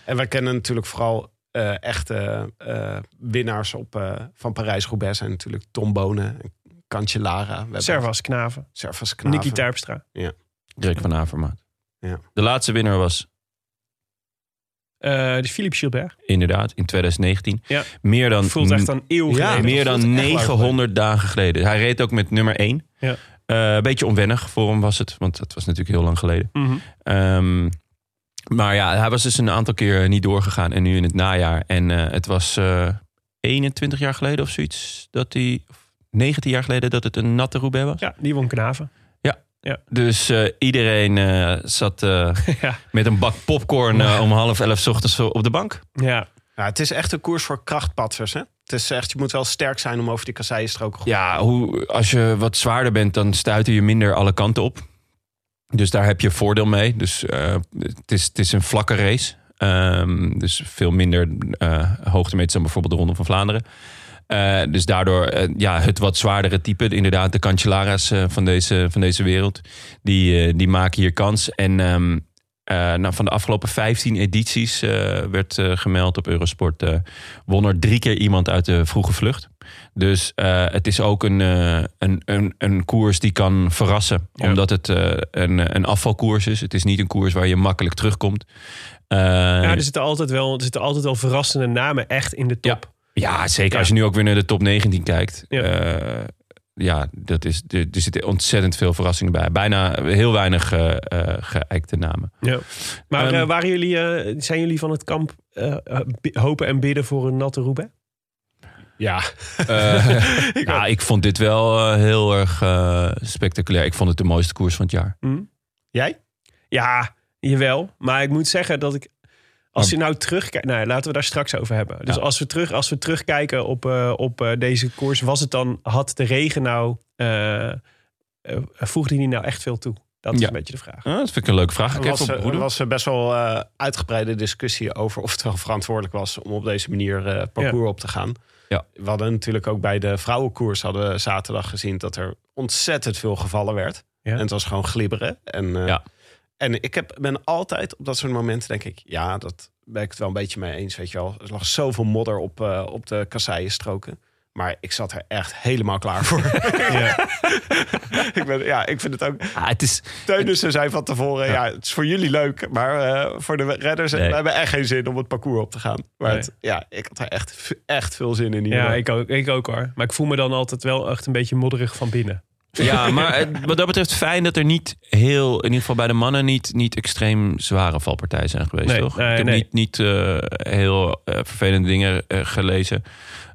En wij kennen natuurlijk vooral eh, echte eh, winnaars op, eh, van Parijs-Roubaix. Zijn natuurlijk Tom Bonen en Cancellara. We hebben Servas Knaven. Servas Knaven. Nicky Terpstra. Rick van Avermaat. Ja. De laatste winnaar was Eh dus Philippe Gilbert. inderdaad in 2019. Ja. Meer dan Voelt echt een eeuw Ja, geleden. meer dat dan voelt echt lang 900 dagen geleden. Hij reed ook met nummer 1. Ja. een beetje onwennig voor hem was het, want dat was natuurlijk heel lang geleden. Mhm. Ehm, maar ja, hij was dus een aantal keer niet doorgegaan en nu in het najaar. En eh, het was eh, 21 jaar geleden of zoiets dat hij, of 19 jaar geleden dat het een natte Roubaix was. Ja, die won Knaven. Dus eh, iedereen eh, zat eh, ja. met een bak popcorn eh, om half elf 's ochtends op de bank. ja. Ja, het is echt een koers voor krachtpatsers. Hè? Het is echt, je moet wel sterk zijn om over die kasseienstrook goed. Ja, hoe, als je wat zwaarder bent, dan stuiten je minder alle kanten op. Dus daar heb je voordeel mee. Dus eh, het, is, het is een vlakke race. Ehm, dus veel minder eh hoogtemeters dan bijvoorbeeld de Ronde van Vlaanderen. Eh, dus daardoor, eh, ja, het wat zwaardere type, inderdaad, de Cancellaras eh, van, deze, van deze wereld, die, eh, die maken hier kans. En ehm, eh, nou, van de afgelopen 15 edities eh, werd eh, gemeld op Eurosport, eh, won er drie keer iemand uit de vroege vlucht. Dus eh, het is ook een, eh, een, een, een koers die kan verrassen. Ja. Omdat het eh, een, een afvalkoers is. Het is niet een koers waar je makkelijk terugkomt. Eh, Ja, dus- er zitten, altijd wel, er zitten altijd wel verrassende namen echt in de top. ja, zeker. Als je nu ook weer naar de top 19 kijkt. Ja. Ja, ja dat is, er, er zitten ontzettend veel verrassingen bij. Bijna heel weinig eh eh, geëikte namen. Ja. Maar Ehm, eh, waren jullie, eh, zijn jullie van het kamp eh, eh, bi- hopen en bidden voor een natte Roubaix? Ja, Eh, ja, ik vond dit wel eh, heel erg eh, spectaculair. Ik vond het de mooiste koers van het jaar. jij? Ja, jawel. Maar ik moet zeggen dat ik... Als je nou terugkijkt... Nou, laten we daar straks over hebben. Dus Oh. Ja. als, we terug, als we terugkijken op, eh, op eh, deze koers... Was het dan... Had de regen nou... eh, eh, voegde die nou echt veel toe? Dat is Ja. een beetje de Ah, vraag. dat vind ik een leuke vraag. Ik Er heb was, op er broeder. was eh, best wel eh, uitgebreide discussie over of het wel verantwoordelijk was om op deze manier eh, het parcours op te gaan. Ja. We hadden natuurlijk ook bij de vrouwenkoers hadden we zaterdag gezien dat er ontzettend veel gevallen werd. Ja. En het was gewoon glibberen. En, eh, Ja. en ik heb, ben altijd op dat soort momenten denk ik, ja, dat ben ik het wel een beetje mee eens, weet je wel. Er lag zoveel modder op, eh, op de kasseienstroken. Maar ik zat er echt helemaal klaar voor. ik, ben, ja, ik vind het ook... Ah, het is, Teunissen zei van tevoren, ja, het is voor jullie leuk. Maar eh, voor de redders, Nee. we hebben echt geen zin om het parcours op te gaan. Maar Nee. het- ja, ik had er echt, v- echt veel zin in. Ja, hierdoor. ik ook, ik ook hoor. Maar ik voel me dan altijd wel echt een beetje modderig van binnen. ja, maar eh, wat dat betreft fijn dat er niet heel, in ieder geval bij de mannen, niet, niet extreem zware valpartijen zijn geweest, Nee, toch? nee, ik heb nee. niet, niet eh, heel eh, vervelende dingen eh, gelezen.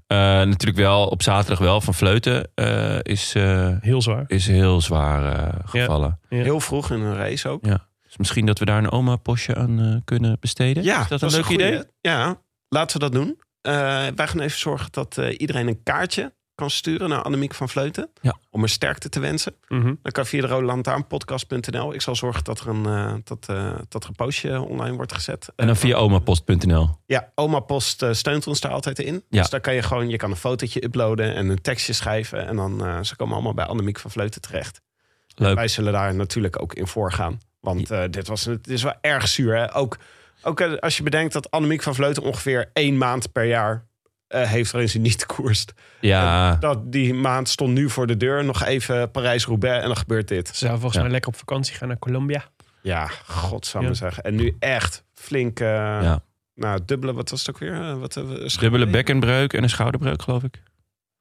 Eh, natuurlijk wel, op zaterdag wel, van Vleuten eh, is, eh, Heel zwaar. is heel zwaar eh, gevallen. Heel vroeg in een race ook. Dus misschien dat we daar een oma-postje aan eh, kunnen besteden. Ja, is dat een is leuk goeie. idee? Ja, laten we dat doen. Eh, wij gaan even zorgen dat eh, iedereen een kaartje kan sturen naar Annemiek van Vleuten. Ja. Om haar sterkte te wensen. Mhm. Dan kan via de rode lantaarn podcast.nl. Ik zal zorgen dat er een, eh, dat, eh, dat er een postje online wordt gezet. En dan Eh, via omapost.nl. Ja, Oma Post eh, steunt ons daar altijd in. Ja. Dus daar kan je gewoon, je kan een fotootje uploaden en een tekstje schrijven. En dan, eh, ze komen allemaal bij Annemiek van Vleuten terecht. Leuk. Wij zullen daar natuurlijk ook in voorgaan. Want eh, dit, was, dit is wel erg zuur. Hè? Ook, ook eh, als je bedenkt dat Annemiek van Vleuten ongeveer één maand per jaar eh, heeft waarin ze niet koerst. Ja, Dat, die maand stond nu voor de deur. Nog even Parijs-Roubaix en dan gebeurt dit. Ze zou volgens Ja. mij lekker op vakantie gaan naar Colombia. Ja, godsamme Ja. zeggen. En nu echt flink, eh ja. nou dubbele, wat was het ook weer? Eh, wat, eh, schouder- dubbele bekkenbreuk en een schouderbreuk, geloof ik.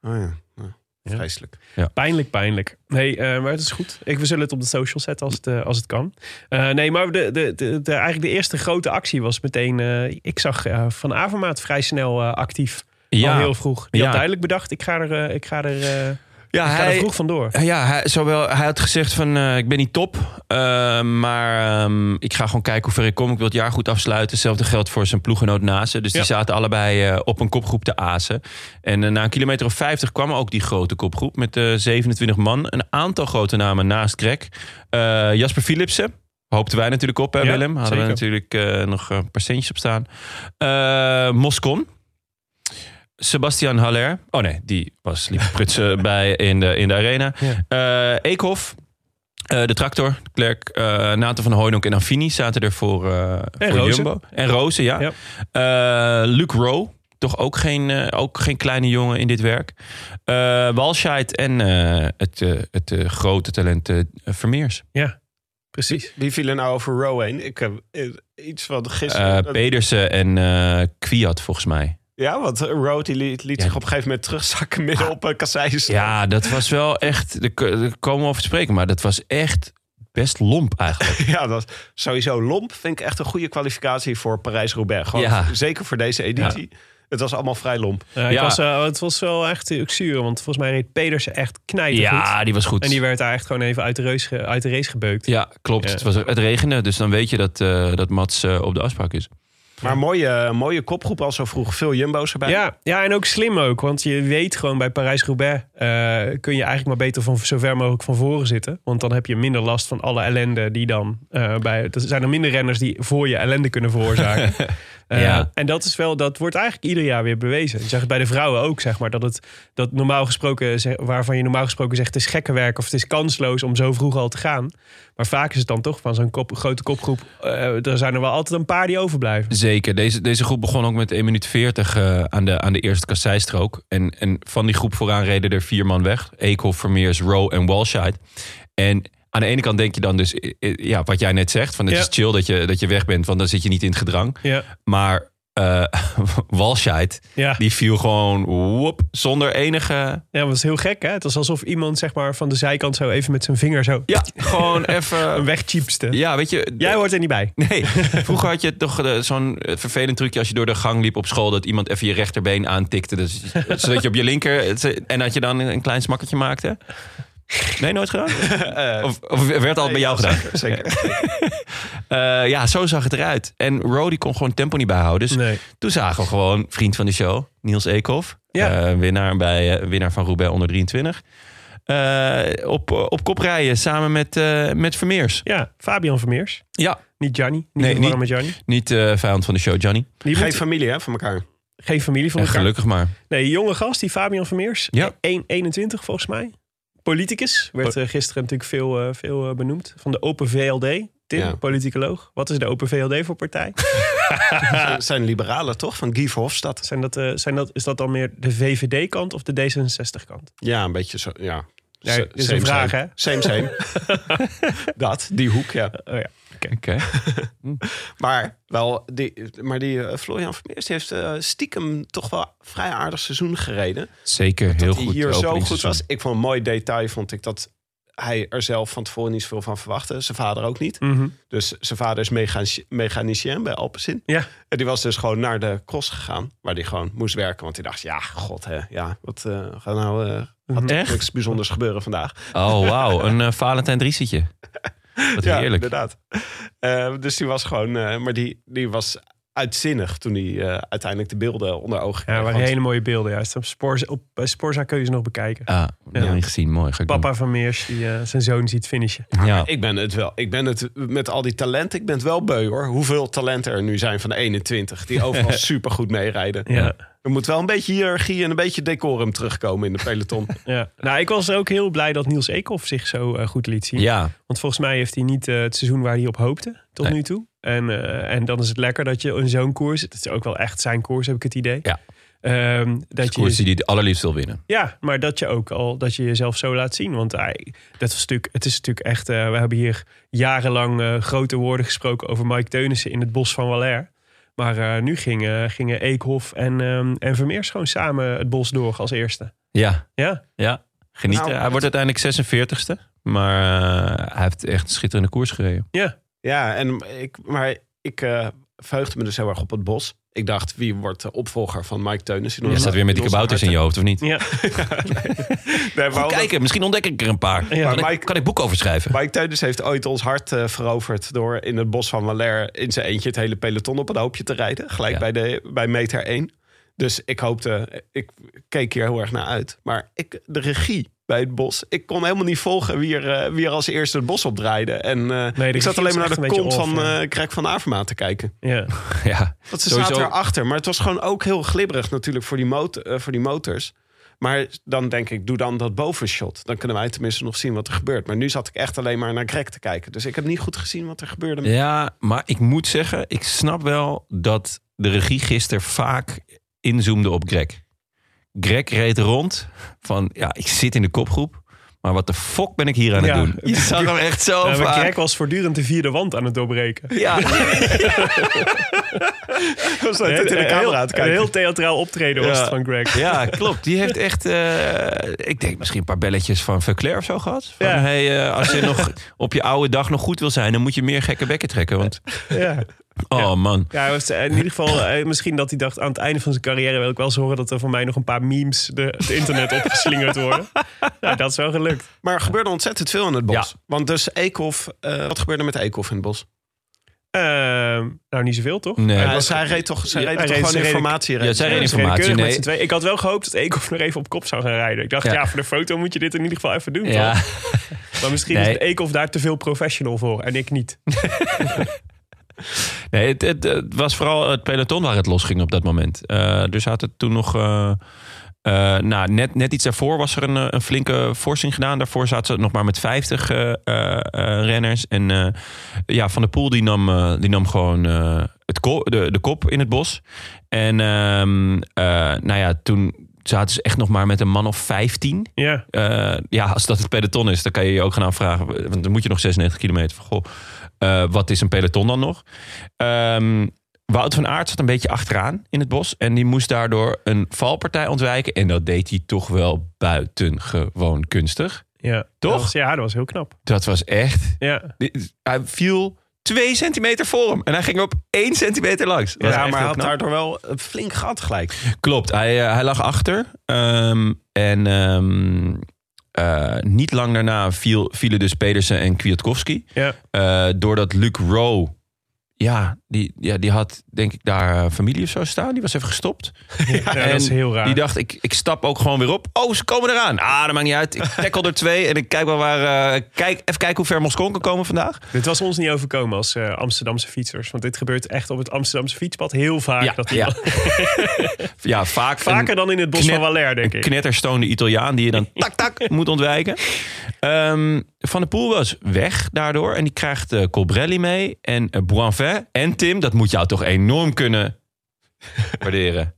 Oh ja, ja. Ja. vreselijk. Pijnlijk, pijnlijk. Nee, eh, maar het is goed. Ik, we zullen het op de social zetten als het, eh, als het kan. Eh, nee, maar de, de, de, de- eigenlijk de eerste grote actie was meteen... eh, ik zag eh, Van Avermaat vrij snel eh, actief. Al heel vroeg. Die Ja. had duidelijk bedacht, ik ga er, eh, ik ga er, eh, ik ja ga er hij, vroeg vandoor. Eh, ja, hij, zowel, hij had gezegd van eh, ik ben niet top, eh, maar ehm, ik ga gewoon kijken hoe ver ik kom. Ik wil het jaar goed afsluiten. Hetzelfde geldt voor zijn ploeggenoot Nase. Dus Ja. die zaten allebei eh, op een kopgroep te azen. En eh, na een kilometer of 50 kwam ook die grote kopgroep met eh, 27 man. Een aantal grote namen naast Greg. Eh, Jasper Philipsen. Hoopten wij natuurlijk op, hè, Ja, Willem? Hadden we zeker. natuurlijk eh, nog een paar centjes op staan. Eh, Moscon. Sebastian Haller. Oh nee, die was liep prutsen bij in de, in de arena. Eh, Eekhof. eh, de tractor, de klerk, eh Nathan van Hooydonk en Affini zaten er voor, eh, voor Rozen. Jumbo. En Rozen, ja. Ja. Eh, Luke Rowe, toch ook geen, eh, ook geen kleine jongen in dit werk. Eh Walscheid en eh, het, eh, het eh, grote talent eh, Vermeers. Ja, precies. Wie viel er nou over Row heen? Ik heb eh, iets van Eh, gisteren. dat- Pedersen en eh Kwiat volgens mij. ja, want eh, Row die liet, liet Ja. zich op een gegeven moment terugzakken midden op eh, een kasseistrook. Ja, dat was wel echt... Daar k- daar komen we over te spreken, maar dat was echt best lomp eigenlijk. ja, dat is sowieso lomp. Vind ik echt een goede kwalificatie voor Parijs-Roubaix. Gewoon, Ja. Zeker voor deze editie. Het was allemaal vrij lomp. Eh, ik Ja. was, eh, het was wel echt eh, zuur, want volgens mij reed Pedersen echt knijtergoed. Ja, die was goed. En die werd daar echt gewoon even uit de, reus ge- uit de race gebeukt. Ja, klopt. Ja. Het, was, het regende, dus dan weet je dat, eh, dat Mats eh, op de afspraak is. Maar mooie, mooie kopgroep al zo vroeg. Veel jumbo's erbij. Ja, ja, en ook slim ook. Want je weet gewoon bij Parijs-Roubaix... eh, kun je eigenlijk maar beter van zo ver mogelijk van voren zitten. Want dan heb je minder last van alle ellende die dan... eh, bij, er zijn er minder renners die voor je ellende kunnen veroorzaken. Eh, Ja. En dat, is wel, dat wordt eigenlijk ieder jaar weer bewezen. Je zag het bij de vrouwen ook, zeg maar. Dat het dat normaal gesproken, zeg- waarvan je normaal gesproken zegt... het is gekke werk of het is kansloos om zo vroeg al te gaan. Maar vaak is het dan toch van zo'n kop, grote kopgroep... eh, er zijn er wel altijd een paar die overblijven. Zeker. Deze, deze groep begon ook met 1 minuut 40 eh, aan, de, aan de eerste kasseistrook. En, en van die groep vooraan reden er vier man weg. Eekhoff, Vermeers, Rowe en Walshide. En aan de ene kant denk je dan dus... eh, eh, ja, wat jij net zegt, van het Ja. is chill dat je, dat je weg bent... want dan zit je niet in het gedrang. Ja, Maar eh Walshide, ja. die viel gewoon woep, zonder enige... Ja, dat was heel gek, hè? Het was alsof iemand zeg maar, van de zijkant zo even met zijn vinger zo Ja, gewoon even... een wegchiepste. Ja, weet je... Jij hoort er niet bij. Nee, vroeger had je toch eh, zo'n eh, vervelend trucje als je door de gang liep op school dat iemand even je rechterbeen aantikte, dus, zodat je op je linker eh, en dat je dan een klein smakketje maakte. Nee, nooit gedaan. Eh, Of, of werd al bij jou gedaan? zeker, zeker. Eh, ja, zo zag het eruit. En Rody kon gewoon tempo niet bijhouden. Dus Nee. toen zagen we gewoon vriend van de show, Niels Eekhoff, Ja. eh, winnaar bij eh, winnaar van Roubaix onder 23, eh, op, op kop rijden samen met, eh, met Vermeers. Ja, Fabian Vermeers. Ja, Niet Gianni. Niet Nee, nee, niet- met Gianni. niet eh, vijand van de show, Johnny. Die Geen moet, familie hè, van elkaar. geen familie van En elkaar. gelukkig maar. Nee, die jonge gast, die Fabian Vermeers. E- Ja. 1,21 volgens mij. Politicus. Werd eh, gisteren natuurlijk veel, eh, veel eh, benoemd. Van de Open VLD. Tim, Ja. politicoloog. Wat is de Open VLD voor partij? Zijn- Zijn liberalen toch? Van Guy Verhofstadt. Zijn dat, eh, zijn dat, is dat dan meer de VVD-kant of de D66-kant? Ja, een beetje zo. Ja. Ja, S- dit is same, een vraag, same. Same, same. dat, die hoek, ja. Oh ja. Oké. Maar, wel, die, maar die eh, Florian Vermeers die heeft eh, stiekem toch wel vrij aardig seizoen gereden. Zeker heel goed. die eh, hier zo goed openingsseizoen. was. Ik vond een mooi detail, vond ik dat hij er zelf van tevoren niet zoveel van verwachtte. Zijn vader ook niet. Mhm. Dus zijn vader is mechanici- mechanicien bij Alpecin. Ja. En die was dus gewoon naar de cross gegaan, waar die gewoon moest werken. Want die dacht, ja, god hè, ja, wat eh gaat nou... eh gaat Mhm. Echt? niks bijzonders gebeuren vandaag. Oh, wauw. Een eh, Valentijn Driesetje. Wat ja, heerlijk. inderdaad. Eh, dus die was gewoon... eh, maar die, die was uitzinnig toen hij eh, uiteindelijk de beelden onder ogen Ja, kreeg. dat waren Want- hele mooie beelden juist. Op, Spoor, op eh, Sporza kun je ze nog bekijken. Ah, dat Ja. niet gezien. Mooi. Ga ik Papa van Meers, die eh, zijn zoon ziet finishen. doen. Ja. Ik ben het wel. Ik ben het met al die talenten. Ik ben het wel beu hoor. Hoeveel talenten er nu zijn van de 21 die overal supergoed meerijden. Ja. Er moet wel een beetje hiërarchie en een beetje decorum terugkomen in de peloton. ja. Nou, ik was ook heel blij dat Niels Eekhoff zich zo eh, goed liet zien. ja. Want volgens mij heeft hij niet eh, het seizoen waar hij op hoopte tot Nee. nu toe. En, eh, en dan is het lekker dat je in zo'n koers, het is ook wel echt zijn koers, heb ik het idee. Ja. Ehm, dat je Koers die het allerliefst wil winnen. Ja, maar dat je ook al dat je jezelf zo laat zien. Want hij, dat was natuurlijk, het is natuurlijk echt. eh, we hebben hier jarenlang eh, grote woorden gesproken over Mike Teunissen in het bos van Waller. Maar eh, nu gingen, gingen Eekhof en, ehm en Vermeers gewoon samen het bos door als eerste. Ja. Ja, Ja. Geniet. Nou, hij wordt uiteindelijk 46ste. Maar eh, hij heeft echt een schitterende koers gereden. ja. Ja, en ik, maar ik eh, verheugde me dus heel erg op het bos. Ik dacht, wie wordt de opvolger van Mike Teunis? Jij staat weer met die kabouters in je hoofd, of niet? ja. Nee, maar Goed omdat- kijken, misschien ontdek ik er een paar. Ja, kan, ik, Mike- kan ik boek over schrijven? Mike Teunis heeft ooit ons hart eh, veroverd door in het bos van Waller in zijn eentje het hele peloton op een hoopje te rijden. Gelijk Ja. bij, de, bij meter 1. Dus ik hoopte, ik keek hier heel erg naar uit. Maar ik, de regie bij het bos, ik kon helemaal niet volgen wie er, eh, wie er als eerste het bos opdraaide. En eh, de ik zat regie alleen is maar echt naar de een beetje kont van off, ja. eh Greg van Avermaat te kijken. ja. Ja. Want ze Sowieso- zaten erachter. Maar het was gewoon ook heel glibberig natuurlijk voor die, mot- eh, voor die motors. Maar dan denk ik, doe dan dat bovenshot. Dan kunnen wij tenminste nog zien wat er gebeurt. Maar nu zat ik echt alleen maar naar Greg te kijken. Dus ik heb niet goed gezien wat er gebeurde. met- ja, maar ik moet zeggen, ik snap wel dat de regie gisteren vaak inzoomde op Greg. Greg reed rond van, ja, ik zit in de kopgroep. Maar wat de fuck ben ik hier aan het Ja. doen? Je zag hem echt zo Nou, maar vaak. Greg was voortdurend de vierde wand aan het doorbreken. Ja, Ik zat in de camera te Een kijken. heel theatraal optreden was Ja. het van Greg. ja, klopt. Die heeft echt, eh, ik denk misschien een paar belletjes van Verclair of zo gehad. Van, Ja. hey, eh, als je nog op je oude dag nog goed wil zijn, dan moet je meer gekke bekken trekken. Want, Ja. oh man. Ja, hij was, eh, in ieder geval, eh, misschien dat hij dacht aan het einde van zijn carrière wil ik wel eens horen dat er van mij nog een paar memes de, het internet opgeslingerd worden. Nou, dat is wel gelukt. Maar er gebeurde ontzettend veel in het bos. Ja. Want dus Eekhoff, eh, wat gebeurde er met Eekhoff in het bos? Ehm, nou, niet zoveel toch? Nee. Ja, zij reed toch, zij Ja, reed hij toch reed- gewoon ze reden- informatie. Ja, reed zij ze. reden Ze reden informatie. keurig met Nee. z'n tweeën. Ik had wel gehoopt dat Eekhoff nog even op kop zou gaan rijden. Ik dacht, ja, Ja. voor de foto moet je dit in ieder geval even doen. Ja. toch? Maar misschien Nee. is Eekhoff daar te veel professional voor en ik niet. Nee, het, het, het was vooral het peloton waar het losging op dat moment. Eh er zaten toen nog... eh, eh, nou, net, net iets daarvoor was er een, eh, een flinke forsing gedaan. Daarvoor zaten ze nog maar met 50 eh, eh, eh, renners. En eh, ja, Van der Poel die nam, eh, die nam gewoon eh, het ko- de, de kop in het bos. En ehm, eh, nou ja, toen zaten ze echt nog maar met een man of 15. Ja, Eh, ja, als dat het peloton is, dan kan je je ook gaan afvragen. Want dan moet je nog 96 kilometer. Van, goh, eh, wat is een peloton dan nog? Ehm Wout van Aert zat een beetje achteraan in het bos. En die moest daardoor een valpartij ontwijken. En dat deed hij toch wel buitengewoon kunstig. ja. Toch? Dat was- ja, dat was heel knap. Dat was echt... Ja, dit- Hij viel twee centimeter voor hem. En hij ging op één centimeter langs. Dat was Ja, echt maar heel hij had knap. daardoor wel een flink gat gelijk. Klopt, hij, eh, hij lag achter. Ehm, en ehm, eh, niet lang daarna viel, vielen dus Pedersen en Kwiatkowski. ja. Eh, doordat Luc Rowe, ja die, ja, die had denk ik daar eh, familie of zo staan. Die was even gestopt. Ja, dat is heel raar. Die dacht, ik, ik stap ook gewoon weer op. Oh, ze komen eraan. Ah, dat maakt niet uit. Ik tackle er twee en ik kijk wel waar... eh, kijk, even kijken hoe ver Moscon kan komen vandaag. Dit was ons niet overkomen als eh, Amsterdamse fietsers. Want dit gebeurt echt op het Amsterdamse fietspad heel vaak. dat ja. iemand- ja vaak. Vaker dan in het bos knet- van Waller, denk ik. knetterstoonde Italiaan die je dan tak tak moet ontwijken. Ehm, Van der Poel was weg daardoor. En die krijgt eh, Colbrelli mee. En eh, Boinvin en Tim. Dat moet jou toch enorm kunnen waarderen.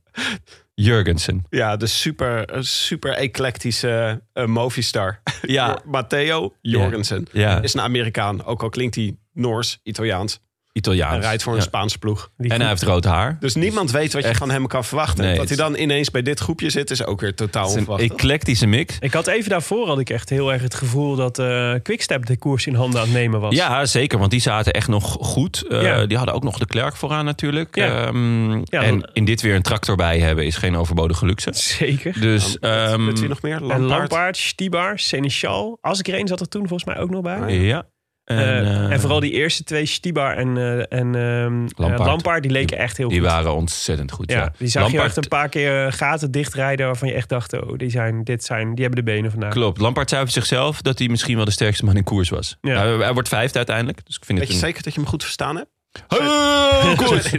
Jurgensen. Ja, de super, eh, super eclectische eh movistar. Ja, Matteo Jorgensen ja. is een Amerikaan. Ook al klinkt hij Noors, Italiaans. Italiaans. Hij rijdt voor een Ja. Spaanse ploeg. Die En hij heeft rood haar. Dus niemand weet wat je echt- van hem kan verwachten. Nee, dat hij het- dan ineens bij dit groepje zit, is ook weer totaal Het is een onverwacht. eclectische mix. Ik had even daarvoor had ik echt heel erg het gevoel dat eh, Quickstep de koers in handen aan het nemen was. Ja, zeker. Want die zaten echt nog goed. Eh, Ja. Die hadden ook nog de Klerk vooraan natuurlijk. Ja. Ehm, en dan- in dit weer een tractor bij hebben is geen overbodige luxe. Zeker. Dus ehm, Weet je nog meer? En Lampaard. Lampaard, Stibar, Seneschal. Asgreen zat er toen volgens mij ook nog bij. ja. En, Eh, eh, en vooral die eerste twee, Stibar en, eh, en ehm, eh, Lampaard. Lampaard. die leken echt heel die goed. waren ontzettend goed. Ja, ja, die zag je Lampaard- echt een paar keer eh, gaten dichtrijden waarvan je echt dacht, oh, die, zijn, dit zijn, die hebben de benen vandaag. Klopt. Lampaard zei over zichzelf dat hij misschien wel de sterkste man in koers was. Nou, Ja. Hij, hij wordt vijfde uiteindelijk. Dus ik vind Weet je het een... zeker dat je hem goed verstaan hebt? Hallo, koers!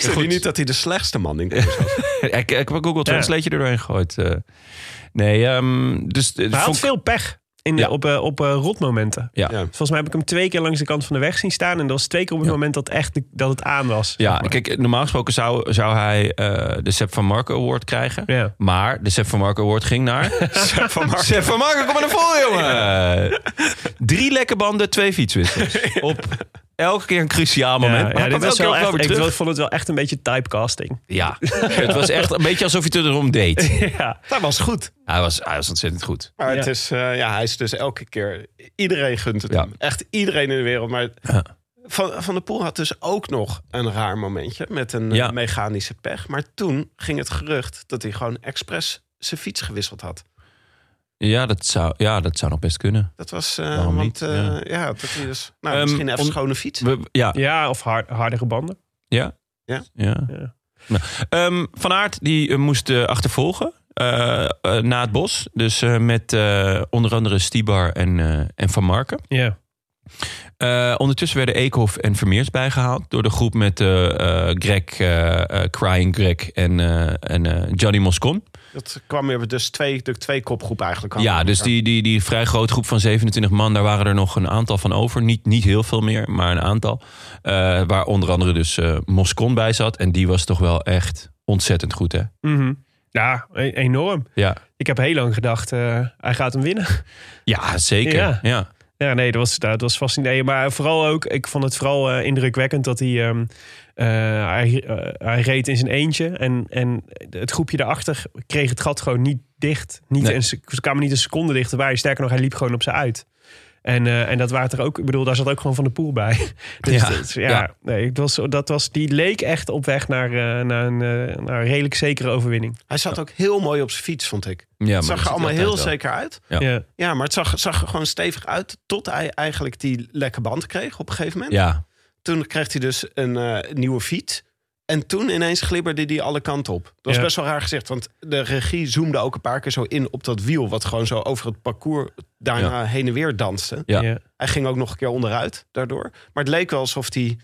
Zeg je niet dat hij de slechtste man in koers was? ik, ik heb Google Translate er doorheen gegooid. eh. nee, ehm, dus... eh, Maar hij vond had ik- veel pech in de, Ja. op, eh, op eh, rotmomenten. Ja. Ja. Volgens mij heb ik hem twee keer langs de kant van de weg zien staan. En dat was twee keer op het Ja. moment dat, echt de- dat het aan was. Ja, kijk, normaal gesproken zou, zou hij eh, de Sepp van Marco Award krijgen. Ja. Maar de Sepp van Marco Award ging naar... Sepp van Marco. van Marco, kom maar naar voren, jongen! Drie lekke banden, twee fietswissels. Op elke keer een cruciaal moment. maar hij dit kwam elke was keer wel ook wel echt, weer ik terug. vond het wel echt een beetje typecasting. Ja, het was echt een beetje alsof hij het erom deed. Ja, Dat was goed. Hij was, hij was ontzettend goed. Maar het Ja. is, eh, ja, hij is dus elke keer... Iedereen gunt het Ja. hem. Echt iedereen in de wereld. Maar Ja. Van, van der Poel had dus ook nog een raar momentje... met een eh, Ja. mechanische pech. Maar toen ging het gerucht dat hij gewoon expres zijn fiets gewisseld had. Ja, dat zou, ja, dat zou nog best kunnen. Dat was... eh, Waarom want, niet? eh, Ja. ja. dat hij dus... Nou, Ehm, misschien even om- schone fiets. We, ja, ja of hard, hardere banden. ja. Ja. Ja. Nou, ehm, van Aert die eh, moest eh, achtervolgen eh, eh, na het bos. Dus eh, met eh, onder andere Stibar en, eh, en Van Marken. Ja. Eh, ondertussen werden Eekhoff en Vermeers bijgehaald door de groep met eh, eh, Greg, eh, eh, Crying Greg en, eh, en eh, Johnny Moscon. Dat kwam weer dus twee, de twee kopgroep eigenlijk aan. Ja, dus die, die, die vrij grote groep van 27 man, daar waren er nog een aantal van over. Niet, niet heel veel meer, maar een aantal. Eh, waar onder andere dus eh, Moscon bij zat. En die was toch wel echt ontzettend goed, hè? Mhm. Ja, e- enorm. Ja, Ik heb heel lang gedacht, eh, hij gaat hem winnen. ja zeker. Ja. Ja. Ja, nee, dat was, dat was fascinerend. Maar vooral ook, ik vond het vooral eh, indrukwekkend dat hij, ehm, eh, hij, eh, hij reed in zijn eentje. En, en het groepje daarachter kreeg het gat gewoon niet dicht. Niet Nee. een, sec- ze kwamen niet een seconde dichterbij. Sterker nog, hij liep gewoon op ze uit. En, eh, en dat waren er ook, ik bedoel, daar zat ook gewoon van de poel bij. Dus Ja, ja, dat, ja, ja. Nee, het was, dat was, die leek echt op weg naar, eh, naar, een, eh, naar een redelijk zekere overwinning. Hij zat ook heel mooi op zijn fiets, vond ik. maar Het dat zag zit er allemaal altijd heel wel. zeker uit. Ja. ja. Ja, maar het zag, zag er gewoon stevig uit tot hij eigenlijk die lekke band kreeg op een gegeven moment. Ja, Toen kreeg hij dus een eh, nieuwe fiets. En toen ineens glibberde die alle kanten op. Dat was Ja. best wel raar gezegd, want de regie zoomde ook een paar keer zo in op dat wiel... wat gewoon zo over het parcours daarna heen en weer danste. Ja. ja. Hij ging ook nog een keer onderuit daardoor. Maar het leek wel alsof, die,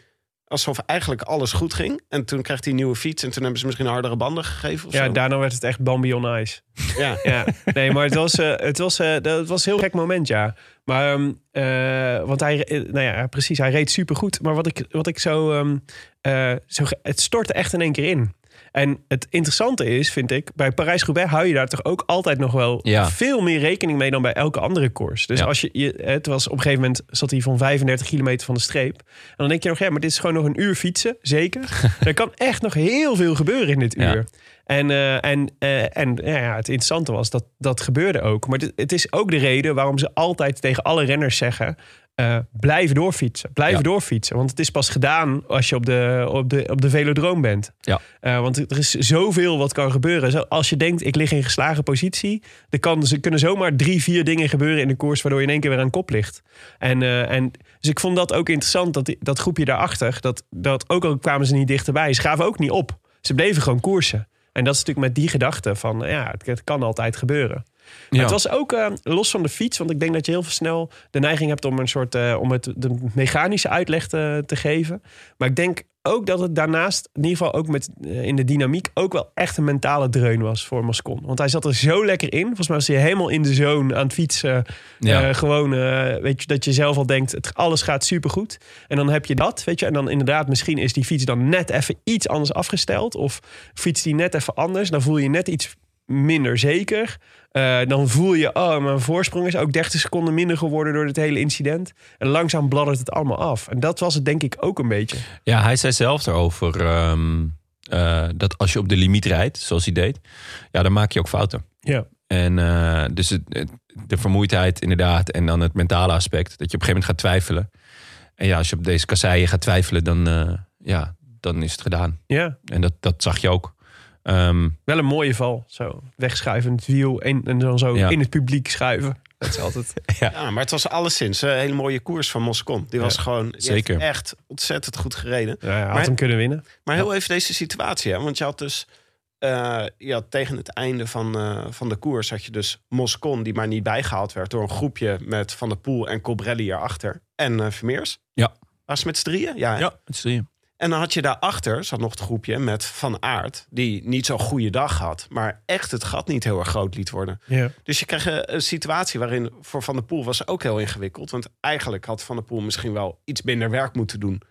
alsof eigenlijk alles goed ging. En toen kreeg hij een nieuwe fiets en toen hebben ze misschien hardere banden gegeven of Ja, zo. daarna werd het echt Bambi on Ice. Ja. ja. Nee, maar het was, eh, het was, eh, dat- het was een heel gek moment, ja. Maar, ehm, eh, want hij, eh, nou ja, precies, hij reed supergoed. Maar wat ik, wat ik zo, ehm, eh, zo, ge- het stortte echt in één keer in. En het interessante is, vind ik, bij Parijs-Roubaix hou je daar toch ook altijd nog wel Ja. veel meer rekening mee dan bij elke andere koers. Dus Ja. als je, je, het was op een gegeven moment zat hij van 35 kilometer van de streep. En dan denk je nog, ja, maar dit is gewoon nog een uur fietsen, zeker. er kan echt nog heel veel gebeuren in dit Ja. uur. En, eh, en, eh, en ja, ja, het interessante was dat dat gebeurde ook. Maar dit- het is ook de reden waarom ze altijd tegen alle renners zeggen: eh, blijf doorfietsen, blijf Ja. doorfietsen. Want het is pas gedaan als je op de, op de, op de velodroom bent. Ja. Eh, want er is zoveel wat kan gebeuren. Zo- Als je denkt, ik lig in geslagen positie. Er, kan, ze kunnen zomaar drie, vier dingen gebeuren in de koers... waardoor je in één keer weer aan kop ligt. En, eh, en, dus ik vond dat ook interessant, dat, die- dat groepje daarachter... Dat, dat ook al kwamen ze niet dichterbij, ze gaven ook niet op. Ze bleven gewoon koersen. En dat is natuurlijk met die gedachte van, ja, het, het kan altijd gebeuren. Maar Ja. het was ook eh, los van de fiets, want ik denk dat je heel veel snel de neiging hebt om een soort eh, om het de mechanische uitleg te, te geven. Maar ik denk ook dat het daarnaast, in ieder geval ook met, eh, in de dynamiek, ook wel echt een mentale dreun was voor Mascon. Want hij zat er zo lekker in. Volgens mij was hij helemaal in de zone aan het fietsen. Ja. Eh, gewoon, eh, weet je, dat je zelf al denkt, het, alles gaat supergoed. En dan heb je dat, weet je. En dan inderdaad, misschien is die fiets dan net even iets anders afgesteld. Of fietst die net even anders. Dan voel je je net iets minder zeker. Eh, dan voel je, oh, mijn voorsprong is ook 30 seconden minder geworden door dit hele incident. En langzaam bladdert het allemaal af. En dat was het denk ik ook een beetje. Ja, hij zei zelf erover ehm, eh, dat als je op de limiet rijdt, zoals hij deed, ja, dan maak je ook fouten. Ja. En eh, dus het, het- de vermoeidheid inderdaad en dan het mentale aspect, dat je op een gegeven moment gaat twijfelen. En ja, als je op deze kasseien gaat twijfelen, dan, eh, ja, dan is het gedaan. Ja, En dat, dat zag je ook. Ehm, wel een mooie val. Zo, wegschuivend wiel en, en dan zo Ja. in het publiek schuiven. Dat is altijd... Ja, maar het was alleszins een hele mooie koers van Moscon. Die was Ja, gewoon die zeker. heeft echt ontzettend goed gereden. Ja, hij had Maar- hem kunnen winnen. Maar heel even deze situatie, hè? want je had dus eh, je had tegen het einde van, eh, van de koers had je dus Moscon, die maar niet bijgehaald werd door een groepje met Van der Poel en Cobrelli erachter. En eh Vermeers. Ja. Was het met z'n drieën? Ja. ja, dat zie je. En dan had je daarachter, zat nog het groepje met Van Aert, die niet zo'n goede dag had, maar echt het gat niet heel erg groot liet worden. Ja. Dus je kreeg eh, een situatie waarin voor Van der Poel was ook heel ingewikkeld. Want eigenlijk had Van der Poel misschien wel iets minder werk moeten doen.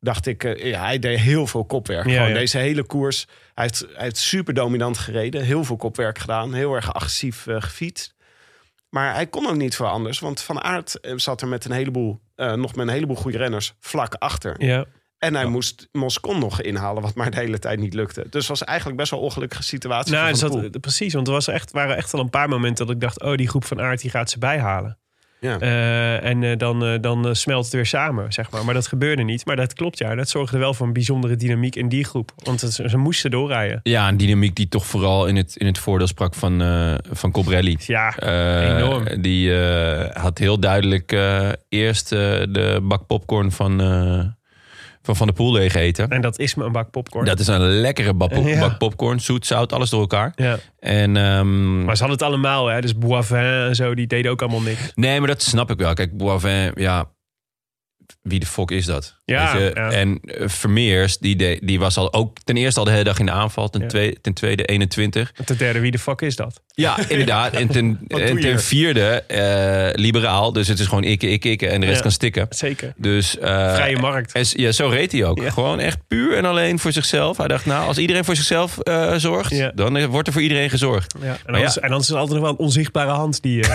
Dacht ik, eh, ja, hij deed heel veel kopwerk. Ja, Gewoon ja. deze hele koers. Hij heeft, hij heeft super dominant gereden. Heel veel kopwerk gedaan. Heel erg agressief eh, gefietst. Maar hij kon ook niet veel anders. Want Van Aert eh, zat er met een heleboel, eh, nog met een heleboel goede renners vlak achter. Ja. En hij moest Moscon nog inhalen, wat maar de hele tijd niet lukte. Dus het was eigenlijk best wel een ongelukkige situatie. Nou, voor het van der zat- Poel. precies, want er was echt, waren echt al een paar momenten dat ik dacht... oh, die groep van Aard die gaat ze bijhalen. Ja. Eh, en eh, dan, eh, dan eh, smelt het weer samen, zeg maar. Maar dat gebeurde niet. Maar dat klopt, ja. Dat zorgde wel voor een bijzondere dynamiek in die groep. Want het- ze moesten doorrijden. Ja, een dynamiek die toch vooral in het, in het voordeel sprak van, eh van Cobrelli. Ja, Eh, Enorm. Die eh, had heel duidelijk eh, eerst eh, de bak popcorn van eh, Van, van de Poel leeg eten. en dat is me een bak popcorn. Dat is een lekkere bak, pop- Ja. bak popcorn. Zoet, zout, alles door elkaar. ja. En, ehm, Maar ze hadden het allemaal, hè. Dus Boivin en zo, die deden ook allemaal niks. Nee, maar dat snap ik wel. Kijk, Boivin, ja... Wie de fuck is dat? Ja, Weet je? ja. En eh, Vermeers, die, de- die was al ook ten eerste al de hele dag in de aanval. Ten, Ja. tweede, ten tweede 21. Ten derde, wie de fuck is dat? Ja, inderdaad. En ten, doe je en ten hier? vierde eh, liberaal. Dus het is gewoon ikke, ikke, ikke. En de rest Ja. kan stikken. Zeker. Dus, eh, Vrije markt. en s- ja, zo reed hij ook. Ja. Gewoon echt puur en alleen voor zichzelf. Hij dacht, nou, als iedereen voor zichzelf eh, zorgt, Ja. dan eh, wordt er voor iedereen gezorgd. Ja. En, ja. anders, en anders is er altijd nog wel een onzichtbare hand die... eh,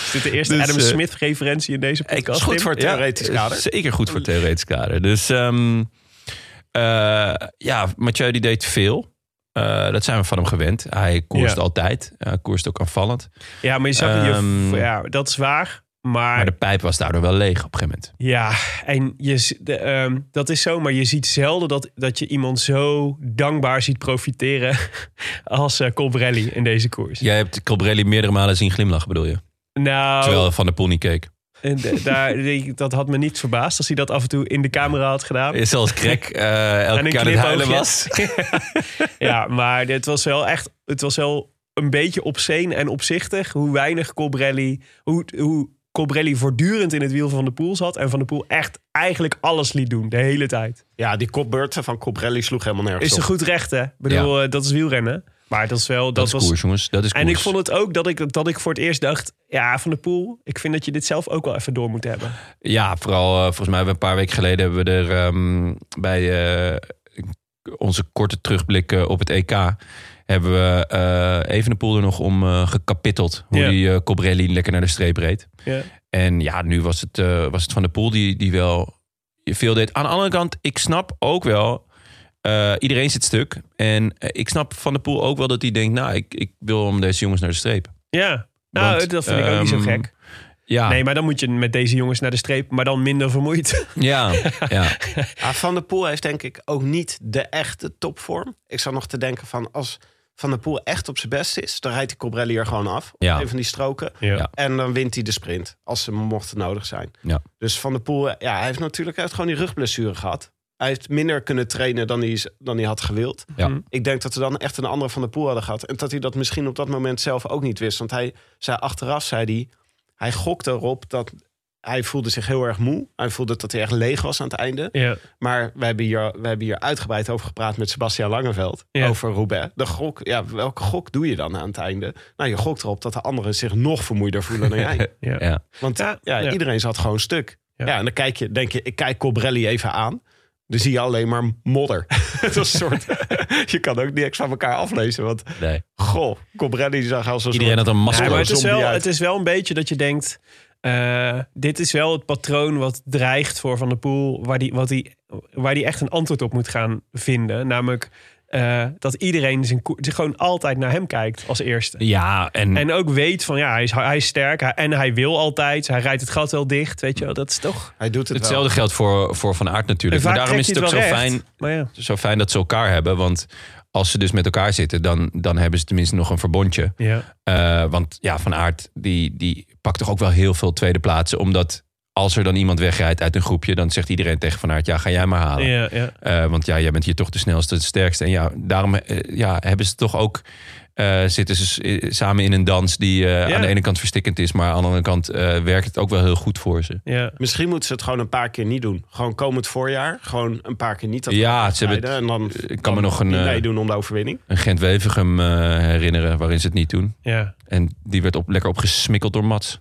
Is dit de eerste Dus, Adam eh, Smith-referentie in deze podcast? Ik was goed Tim? voor het Ja, theoretisch kader. eh, Zeker goed voor het theoretisch kader. Dus ehm, eh, ja, Mathieu die deed veel. Eh, dat zijn we van hem gewend. Hij koerst Ja. altijd. Hij koerst ook aanvallend. Ja, maar je zag het, je- Ehm, ja, dat is waar. Maar, Maar de pijp was daardoor wel leeg op een gegeven moment. ja, en je, z- de, ehm, dat is zo. Maar je ziet zelden dat, dat je iemand zo dankbaar ziet profiteren als eh Colbrelli in deze koers. Jij hebt Colbrelli meerdere malen zien glimlachen, bedoel je? Nou, Terwijl Van de Poel niet keek. en d- daar, die- dat had me niet verbaasd als hij dat af en toe in de camera had gedaan. Zoals Krek eh, elke En een keer aan het huilen knipoogje. was. Ja, maar het was wel echt, het was wel een beetje obscene en opzichtig hoe weinig Colbrelli, hoe, hoe Colbrelli voortdurend in het wiel van de Poel zat en van de Poel echt eigenlijk alles liet doen de hele tijd. Ja, die kopbeurten van Cobrelli sloeg helemaal nergens Is een op. goed recht, hè? Ik bedoel, eh, dat is wielrennen. Maar dat is wel... Dat, Dat, is was, koers, jongens. Dat is koers. En ik vond het ook dat ik, dat ik voor het eerst dacht... Ja, Van der Poel, ik vind dat je dit zelf ook wel even door moet hebben. Ja, vooral eh, volgens mij hebben we een paar weken geleden hebben we er ehm, bij eh, onze korte terugblik eh, op het EK hebben we eh Evenepoel er nog om eh, gekapitteld. Hoe Ja. die eh Cobrelli lekker naar de streep reed. Ja. En ja, nu was het, eh, was het Van de Poel die, die wel veel deed. Aan de andere kant, ik snap ook wel... eh, iedereen zit stuk. En eh, ik snap Van de Poel ook wel dat hij denkt... nou, ik, ik wil om deze jongens naar de streep. ja. Nou, Want, dat vind ik ook niet zo ehm, gek. Ja, Nee, maar dan moet je met deze jongens naar de streep, maar dan minder vermoeid. ja, ja. Ja, van der Poel heeft denk ik ook niet de echte topvorm. Ik zat nog te denken van als Van der Poel echt op zijn best is... dan rijdt die Cobrelli er gewoon af. op Ja. Een van die stroken. Ja. En dan wint hij de sprint, als ze mochten nodig zijn. Ja. Dus Van der Poel, ja, hij heeft natuurlijk hij heeft gewoon die rugblessure gehad. Hij heeft minder kunnen trainen dan hij, is- dan hij had gewild. Ja. Ik denk dat ze dan echt een andere van de pool hadden gehad. En dat hij dat misschien op dat moment zelf ook niet wist. Want hij zei achteraf, zei hij, hij gokte erop dat hij voelde zich heel erg moe. Hij voelde dat hij echt leeg was aan het einde. Ja. Maar we hebben, hier, we hebben hier uitgebreid over gepraat met Sebastian Langeveld. Ja. Over Roubaix. De gok, ja, welke gok doe je dan aan het einde? Nou, je gokt erop dat de anderen zich nog vermoeider voelen dan jij. Ja. Ja. Want ja, ja. iedereen zat gewoon stuk. Ja. Ja. en dan kijk je, denk je, ik kijk Cobrelli even aan. Dan zie je alleen maar modder. Het was een soort, je kan ook niks van elkaar aflezen. Want Nee. goh, Cobrelli zag als een Iedereen soort... had een masker. Ja, maar op. het is, zombie wel, uit. het is wel een beetje dat je denkt... eh, dit is wel het patroon wat dreigt voor Van der Poel... waar die, wat die, waar die echt een antwoord op moet gaan vinden. Namelijk eh, dat iedereen zijn, koe- zich gewoon altijd naar hem kijkt als eerste. Ja, en, En ook weet van ja, hij is, hij is sterk hij- en hij wil altijd. Hij rijdt het gat wel dicht, weet je wel. Dat is toch... Hij doet het hetzelfde geldt voor, voor Van Aert En natuurlijk. vaak Maar dus daarom trek is je het ook zo wel recht. fijn Maar ja. zo fijn dat ze elkaar hebben. Want als ze dus met elkaar zitten, dan, dan hebben ze tenminste nog een verbondje. Ja. Eh, want ja, Van Aert, die, die pakt toch ook wel heel veel tweede plaatsen. Omdat als er dan iemand wegrijdt uit een groepje, dan zegt iedereen tegen Van Aert, ja, ga jij maar halen. Ja, ja. Eh, want ja, jij bent hier toch de snelste, de sterkste. En ja, daarom eh, ja, hebben ze toch ook... eh, zitten ze s- eh, samen in een dans die eh, Ja. aan de ene kant verstikkend is... maar aan de andere kant eh, werkt het ook wel heel goed voor ze. ja. Misschien moeten ze het gewoon een paar keer niet doen. Gewoon komend voorjaar, gewoon een paar keer niet. Dat Ja, ze hebben En dan Ik kan me nog een, niet eh, meedoen om de overwinning. een Gent-Wevergem eh, herinneren waarin ze het niet doen. ja. En die werd op, lekker opgesmikkeld door Mats.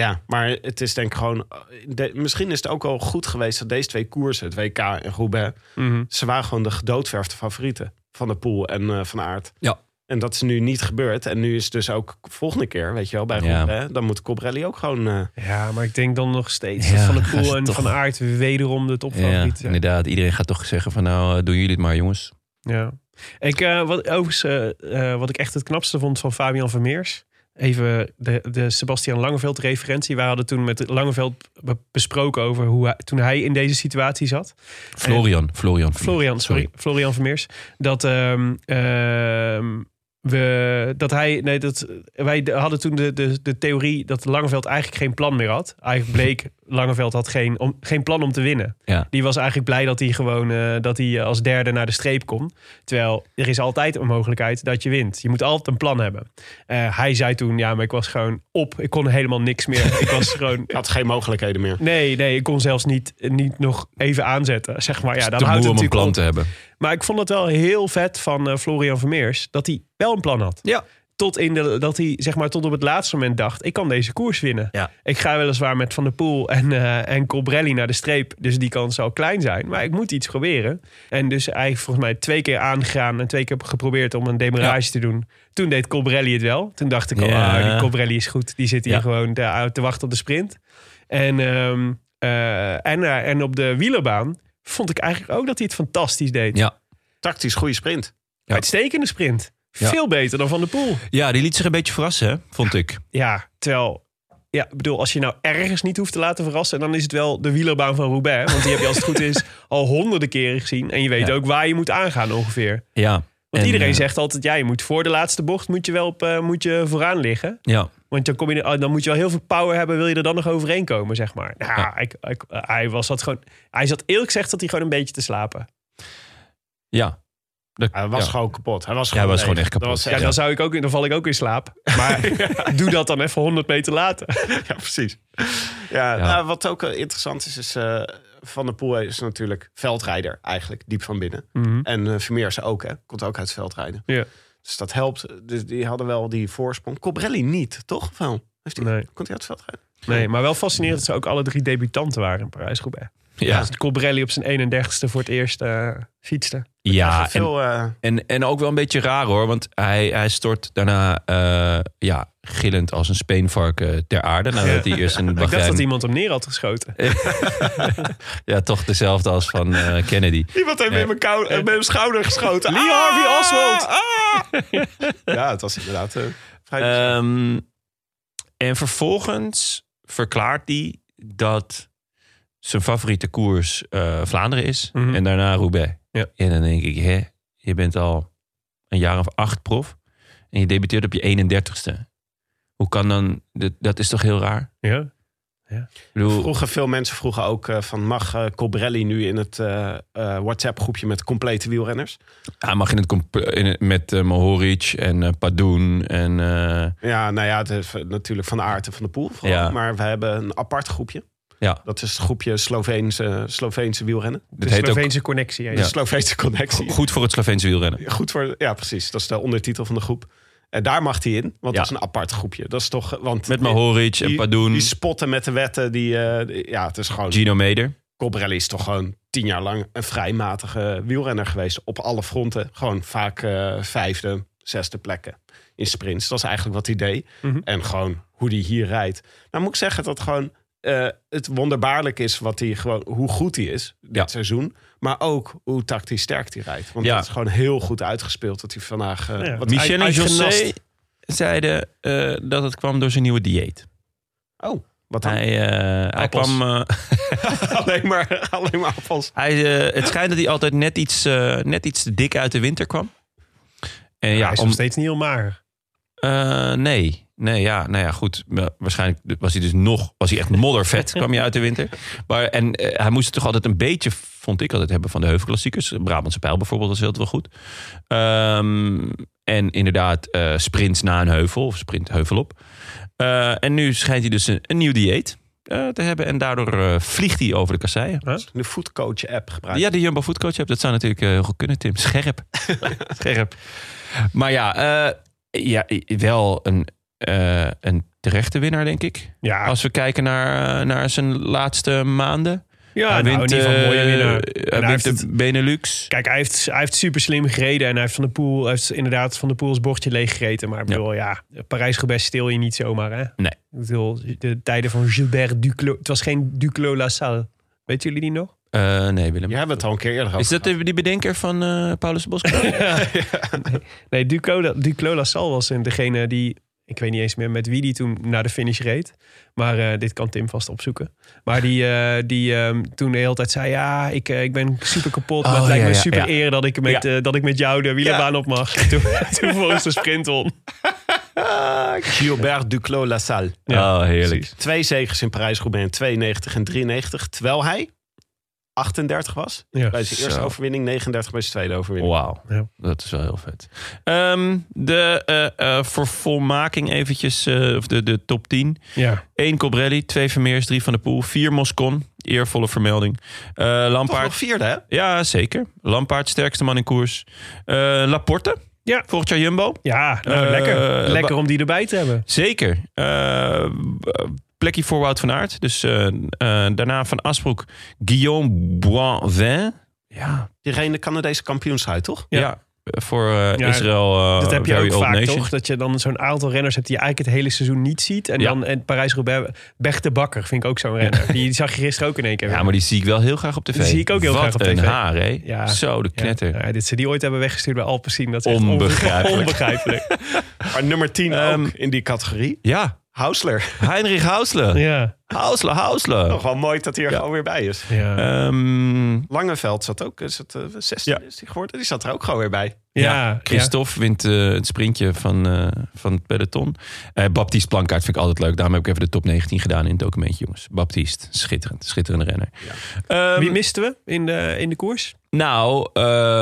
Ja, maar het is denk ik gewoon... eh, de- misschien is het ook wel goed geweest dat deze twee koersen, het WK en Roubaix... Mhm. ze waren gewoon de gedoodverfde favorieten van de pool en eh, van Aert. Ja. En dat is nu niet gebeurd. En nu is het dus ook volgende keer, weet je wel, bij Ja. Roubaix... dan moet Cobrelli ook gewoon... eh, ja, maar ik denk dan nog steeds Ja, dat Van der gaan Poel ze en toch- Van Aert wederom de Ja, topfavoriet zijn. inderdaad. Iedereen gaat toch zeggen van nou, eh, doen jullie het maar jongens. Ja. Ik, eh, wat, overigens, eh, eh, wat ik echt het knapste vond van Fabian Vermeers. Even de, de Sebastian Langeveld referentie. Wij hadden toen met Langeveld be- besproken over hoe hij, toen hij in deze situatie zat. Florian, Florian. Eh, Florian, sorry. Florian Vermeers. Dat, ehm, ehm, we, dat hij. Nee, dat, wij de- hadden toen de, de, de theorie dat Langeveld eigenlijk geen plan meer had. Eigenlijk bleek Langeveld had geen, om, geen plan om te winnen. Ja. Die was eigenlijk blij dat hij gewoon eh, dat hij als derde naar de streep kon. Terwijl er is altijd een mogelijkheid dat je wint. Je moet altijd een plan hebben. Eh, hij zei toen, ja, maar ik was gewoon op. Ik kon helemaal niks meer. ik was gewoon. had geen mogelijkheden meer. Nee, nee, ik kon zelfs niet, niet nog even aanzetten. Zeg maar, ja, Ja, dan te houdt moe Nou, het om een natuurlijk plan op. te hebben. Maar ik vond het wel heel vet van eh, Florian Vermeers dat hij wel een plan had. Ja. Tot, in de, dat hij, zeg maar, tot op het laatste moment dacht: ik kan deze koers winnen. Ja. Ik ga weliswaar met Van der Poel en, eh en Colbrelli naar de streep. Dus die kans zal klein zijn. Maar ik moet iets proberen. En dus hij heeft volgens mij twee keer aangegaan en twee keer geprobeerd om een demarage te doen. Toen deed Colbrelli het wel. Toen dacht ik al: Ja. ah, die Colbrelli is goed. Die zit hier Ja. gewoon te, te wachten op de sprint. En, ehm, eh, en, eh, en op de wielerbaan vond ik eigenlijk ook dat hij het fantastisch deed. Ja. Tactisch goede sprint. Ja. Uitstekende sprint. Ja. Veel beter dan Van der Poel. ja, die liet zich een beetje verrassen, hè, vond ik. Ja, terwijl... Ja, ik bedoel, als je nou ergens niet hoeft te laten verrassen... dan is het wel de wielerbaan van Roubaix. Want die heb je als het goed is al honderden keren gezien. En je weet Ja. ook waar je moet aangaan ongeveer. Ja. Want En, iedereen eh, zegt altijd... ja, je moet voor de laatste bocht moet je wel op, eh, moet je vooraan liggen. Ja, Want dan, kom je, oh, dan moet je wel heel veel power hebben... wil je er dan nog overheen komen, zeg maar. Nou, Ja. ik, ik- hij, was dat gewoon, hij zat eerlijk gezegd dat hij gewoon een beetje te slapen. ja. Dat- Hij was ja. gewoon kapot. Hij was Ja, gewoon, hij was gewoon leeg. echt kapot. Dat was Ja, echt- dan, zou ik ook, in- dan val ik ook in slaap. Maar doe dat dan even 100 meter later. Ja, precies. Ja, Ja. nou, wat ook eh, interessant is, is eh, Van der Poel is natuurlijk veldrijder eigenlijk, diep van binnen. Mhm. En eh Vermeers ook, hè. Komt ook uit het veldrijden. Ja. Dus dat helpt. Dus die hadden wel die voorsprong. Cobrelli niet, toch? Of wel? Heeft hij, Nee. Komt hij uit het veldrijden? Nee, maar wel fascinerend dat ze ook alle drie debutanten waren in Parijs Roubaix. Ja. Ja, Dus Colbrelli op zijn 31ste voor het eerst eh, fietste. ja. Echt En, veel, eh, en, en ook wel een beetje raar hoor, want hij, hij stort daarna eh, ja, gillend als een speenvarken ter aarde. Nadat hij eerst een Ik dacht dat Bahrein... iemand hem neer had geschoten. Ja, toch dezelfde als van eh, Kennedy. Iemand heeft Nee. met, mijn kou- eh, met mijn schouder geschoten. Lee Ah! Harvey Oswald! Ja, het was inderdaad eh, vrij... Ehm, en vervolgens verklaart hij dat zijn favoriete koers eh, Vlaanderen is. Mhm. En daarna Roubaix. Ja. En dan denk ik, hè, je bent al een jaar of acht prof. En je debuteert op je 31ste. Hoe kan dan, dat, dat is toch heel raar? Ja. Ik bedoel, Vroeger, veel mensen vroegen ook eh, van mag eh Colbrelli nu in het eh, eh, WhatsApp groepje met complete wielrenners? hij mag in het comp- in, het- met eh, Mohoric en eh, Padoen en... eh, Ja, nou ja, het is eh, natuurlijk van de aard en van de poel. Vooral, Ja. Maar we hebben een apart groepje. ja, Dat is het groepje Sloveense, Sloveense wielrennen. dit de heet ook Sloveense connectie. Ja. De Sloveense connectie. goed voor het Sloveense wielrennen. Goed voor, ja precies, dat is de ondertitel van de groep. En daar mag hij in, want Ja. dat is een apart groepje. Dat is toch, eh, want Met Mohoric en die- Padoen, Die spotten met de wetten, die, eh, die- ja, het is gewoon... Gino Meder. Colbrelli is toch gewoon tien jaar lang een vrij matige wielrenner geweest. Op alle fronten. Gewoon vaak eh, vijfde, zesde plekken in sprints. Dat is eigenlijk wat hij deed. Mhm. En gewoon hoe hij hier rijdt. Nou moet ik zeggen dat gewoon eh, het wonderbaarlijk is wat hij gewoon, hoe goed hij is dit Ja. seizoen. Maar ook hoe tactisch sterk hij rijdt. Want Ja. dat is gewoon heel goed uitgespeeld dat hij vandaag... eh, Ja. wat Michel en uit- José uitgenast- zeiden eh, dat het kwam door zijn nieuwe dieet. Oh, wat dan? Hij, eh, hij Appels. kwam... eh, alleen, maar, alleen maar appels. Hij, eh, het schijnt dat hij altijd net iets, eh, net iets te dik uit de winter kwam. En ja, hij is om- nog steeds niet heel mager. eh, nee. Nee, ja, nou ja, goed. Wa- Waarschijnlijk was hij dus nog, was hij echt moddervet, kwam hij uit de winter. Maar, en eh, hij moest het toch altijd een beetje, vond ik altijd, hebben van de heuvelklassiekers. Brabantse Pijl bijvoorbeeld was heel wel goed. Ehm, en inderdaad, eh, sprints na een heuvel, of sprint heuvel op. Eh, en nu schijnt hij dus een, een nieuw dieet eh, te hebben. En daardoor eh, vliegt hij over de kasseien. De foodcoach app gebruikt. Ja, de Jumbo Food Coach app. Dat zou natuurlijk eh, heel goed kunnen, Tim. Scherp. Scherp. Maar ja, eh, ja i- wel een, eh, een terechte winnaar, denk ik. Ja, Als we kijken naar, eh, naar zijn laatste maanden. ja hij nou, wint, in ieder geval een mooie eh, winnaar. En Hij hij wint heeft de het- Benelux. Kijk, hij heeft, hij heeft super slim gereden. En hij heeft, van de pool, hij heeft inderdaad van de poels bordje leeggereten. Maar ik bedoel, ja, Parijs-Roubaix steel je niet zomaar, hè? Nee. Ik bedoel, de tijden van Gilbert Duclos. Het was geen Duclos-La Salle. Weten jullie die nog? Eh, nee, Willem. Je hebt het al een keer eerder over Is dat de- die bedenker van eh, Paulus Bos? Nee, Duclos- Duclos-La Salle was een- degene die... Ik weet niet eens meer met wie die toen naar de finish reed. Maar eh, dit kan Tim vast opzoeken. Maar die, eh, die ehm, toen de hele tijd zei... Ja, ik, eh, ik ben super kapot. maar Oh, het lijkt ja, me ja, super ja. eer dat ik, met, eh, dat ik met jou de wielerbaan op mag. Toen, toen volgens de sprint om. Ah, Gilbert Duclos LaSalle. Ja, oh, heerlijk. Twee zegens in Parijs-Roubaix in 92 en 93. Terwijl hij 38 was. Ja. Bij zijn eerste Zo. overwinning, 39 bij zijn tweede overwinning. Wauw, Ja. dat is wel heel vet. Ehm, de eh, eh, vervolmaking eventjes, eh, of de, de top 10. Ja. 1 Cobrelli, 2 Vermeers, 3 Van der Poel, 4 Moscon. Eervolle vermelding. Eh, Toch Lampaard. nog vierde, hè? Ja, zeker. Lampaard, sterkste man in koers. Eh, Laporte. Ja. Volgend jaar Jumbo. Ja, nou, Eh, lekker. eh, Lekker om die erbij te hebben. Zeker. Eh, b- plekje voor Wout van Aert. Dus eh, eh, daarna Van Asbroek, Guillaume Boivin. Ja, Die reed de Canadese kampioenshuid, toch? ja. Ja. Voor eh, Ja, Israël. eh, dat heb je Very ook Old vaak, Nation. toch? Dat je dan zo'n aantal renners hebt die je eigenlijk het hele seizoen niet ziet. En Ja. dan en Parijs-Roubaix, Bech de Bakker vind ik ook zo'n renner. Die zag je gisteren ook in één keer. Ja, weer. maar die zie ik wel heel graag op tv. Die zie ik ook heel Wat graag op een tv. haar, hè? Ja. Zo, de Ja. knetter. Ja, dit ze die ooit hebben weggestuurd bij Alpecin. Dat is echt Onbegrijpelijk. onbegrijpelijk. Maar nummer 10 Ehm, ook in die categorie. Ja, Hausler. Heinrich Hausle. ja. Oh. Hausle, Hausle. Nog wel mooi dat hij er Ja. gewoon weer bij is. Ja. Ehm, Langeveld zat ook, is het eh, 16 Ja. is hij geworden? Die zat er ook gewoon weer bij. ja. Christophe wint eh, het sprintje van, eh, van het peloton. Eh, Baptiste Plankaart vind ik altijd leuk. Daarom heb ik even de top 19 gedaan in het documentje, jongens. Baptiste, schitterend. Schitterende renner. Ehm, Wie misten we in de, in de koers? nou,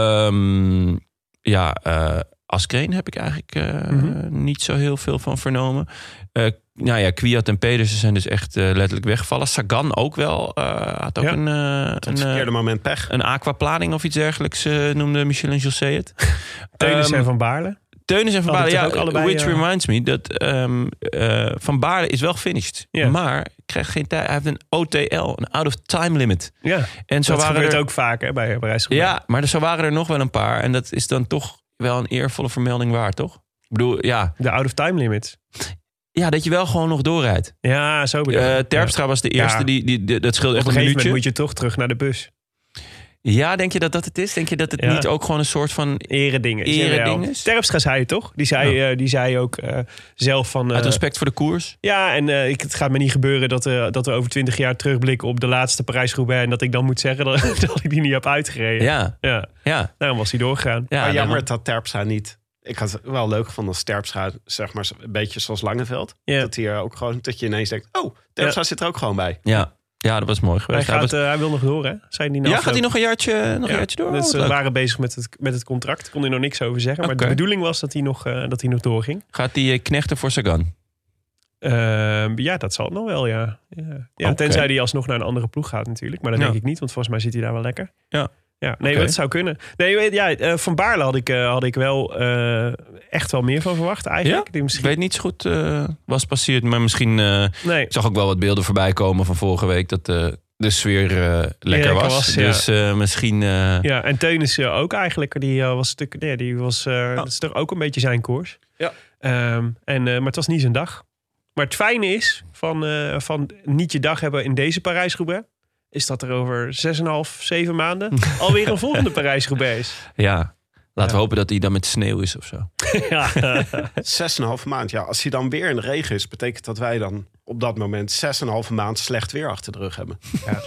ehm, ja, eh Askreen heb ik eigenlijk eh, Mhm. niet zo heel veel van vernomen. Eh, nou ja, Kwiat en Pedersen zijn dus echt eh, letterlijk weggevallen. Sagan ook wel. eh, had ook Ja. een, eh, Op een, het eh, verkeerde moment pech. een aquaplaning of iets dergelijks, eh, noemde Michel en José het. Teunis Ehm, en Van Baarle. Teunis en Van Baarle, Hadden ja, toch ook allebei, which eh, reminds me dat ehm, eh, Van Baarle is wel gefinished. Ja. Maar krijgt geen tijd. Hij heeft een OTL, een out of time limit. Ja. En zo dat waren gebeurt er, ook vaak hè, bij Parijs-Roubaix. Ja, maar er- zo waren er nog wel een paar. En dat is dan toch wel een eervolle vermelding waard, toch? Ik bedoel, ja, De out-of-time limits. ja, dat je wel gewoon nog doorrijdt. Ja, zo bedoel ik. Eh Ja. Terpstra was de eerste, Ja. die, die, die- dat scheelde Op echt een een gegeven moment minuutje. moet je toch terug naar de bus. Ja, denk je dat dat het is? Denk je dat het Ja. Eh, niet ook gewoon een soort van... Eredingen. is Eredingen. NRL. Terpstra zei het toch? Die zei, eh, die zei ook eh, zelf van... eh, Uit respect voor de koers? ja, en eh, ik, het gaat me niet gebeuren dat, eh, dat we over twintig jaar terugblikken op de laatste Parijs-Roubaix... en dat ik dan moet zeggen dat, dat ik die niet heb uitgereden. Ja, Ja, Oh, ja, daarom was hij doorgegaan. ja. maar nou, jammer dat Terpstra niet Ik had het wel leuk gevonden als Terpstra, zeg maar, een beetje zoals Langeveld. Ja. Dat, hij er ook gewoon, dat je ineens denkt, oh, Terpstra zit er ook gewoon bij. Ja. ja, dat was mooi Hij, geweest. Hij gaat, was- eh, hij wil nog door, hè? Zijn die nou ja, gaat hij afgelopen- nog een jaartje, nog Ja. een jaartje door? Dus Oh, ze wat leuk. waren bezig met het, met het contract. Kon hij nog niks over zeggen. Maar Oké. de bedoeling was dat hij nog, eh, dat hij nog doorging. Gaat hij eh, knechten voor Sagan? Ehm, ja, dat zal het nog wel, ja. ja. ja Oké. Tenzij hij alsnog naar een andere ploeg gaat natuurlijk. Maar dat Ja. denk ik niet, want volgens mij zit hij daar wel lekker. Ja. Ja, nee, Oké. dat zou kunnen. Nee, weet- ja, eh, van Baarle had ik, eh, had ik wel eh, echt wel meer van verwacht eigenlijk. Die Ik misschien, weet niet zo goed eh was passeerd, maar misschien... eh, nee, ik zag ook wel wat beelden voorbij komen van vorige week dat de, de sfeer eh, lekker lekker was. was, ja. Dus eh, misschien... eh, Ja, en Teunissen ook eigenlijk. Die eh, was stuk, nee, die was, eh, Ah. dat is toch ook een beetje zijn koers. Ja. Ehm, en, eh, maar het was niet zijn dag. Maar het fijne is van, eh, van niet je dag hebben in deze Parijs-Roubaix... is dat er over 6,5, 7 maanden alweer een volgende Parijs-Roubaix is. Ja, laten Ja. we hopen dat hij dan met sneeuw is of zo. ja. Zes en een halve maand. Ja, als hij dan weer in de regen is, betekent dat wij dan op dat moment zes en een halve maand slecht weer achter de rug hebben. Ja.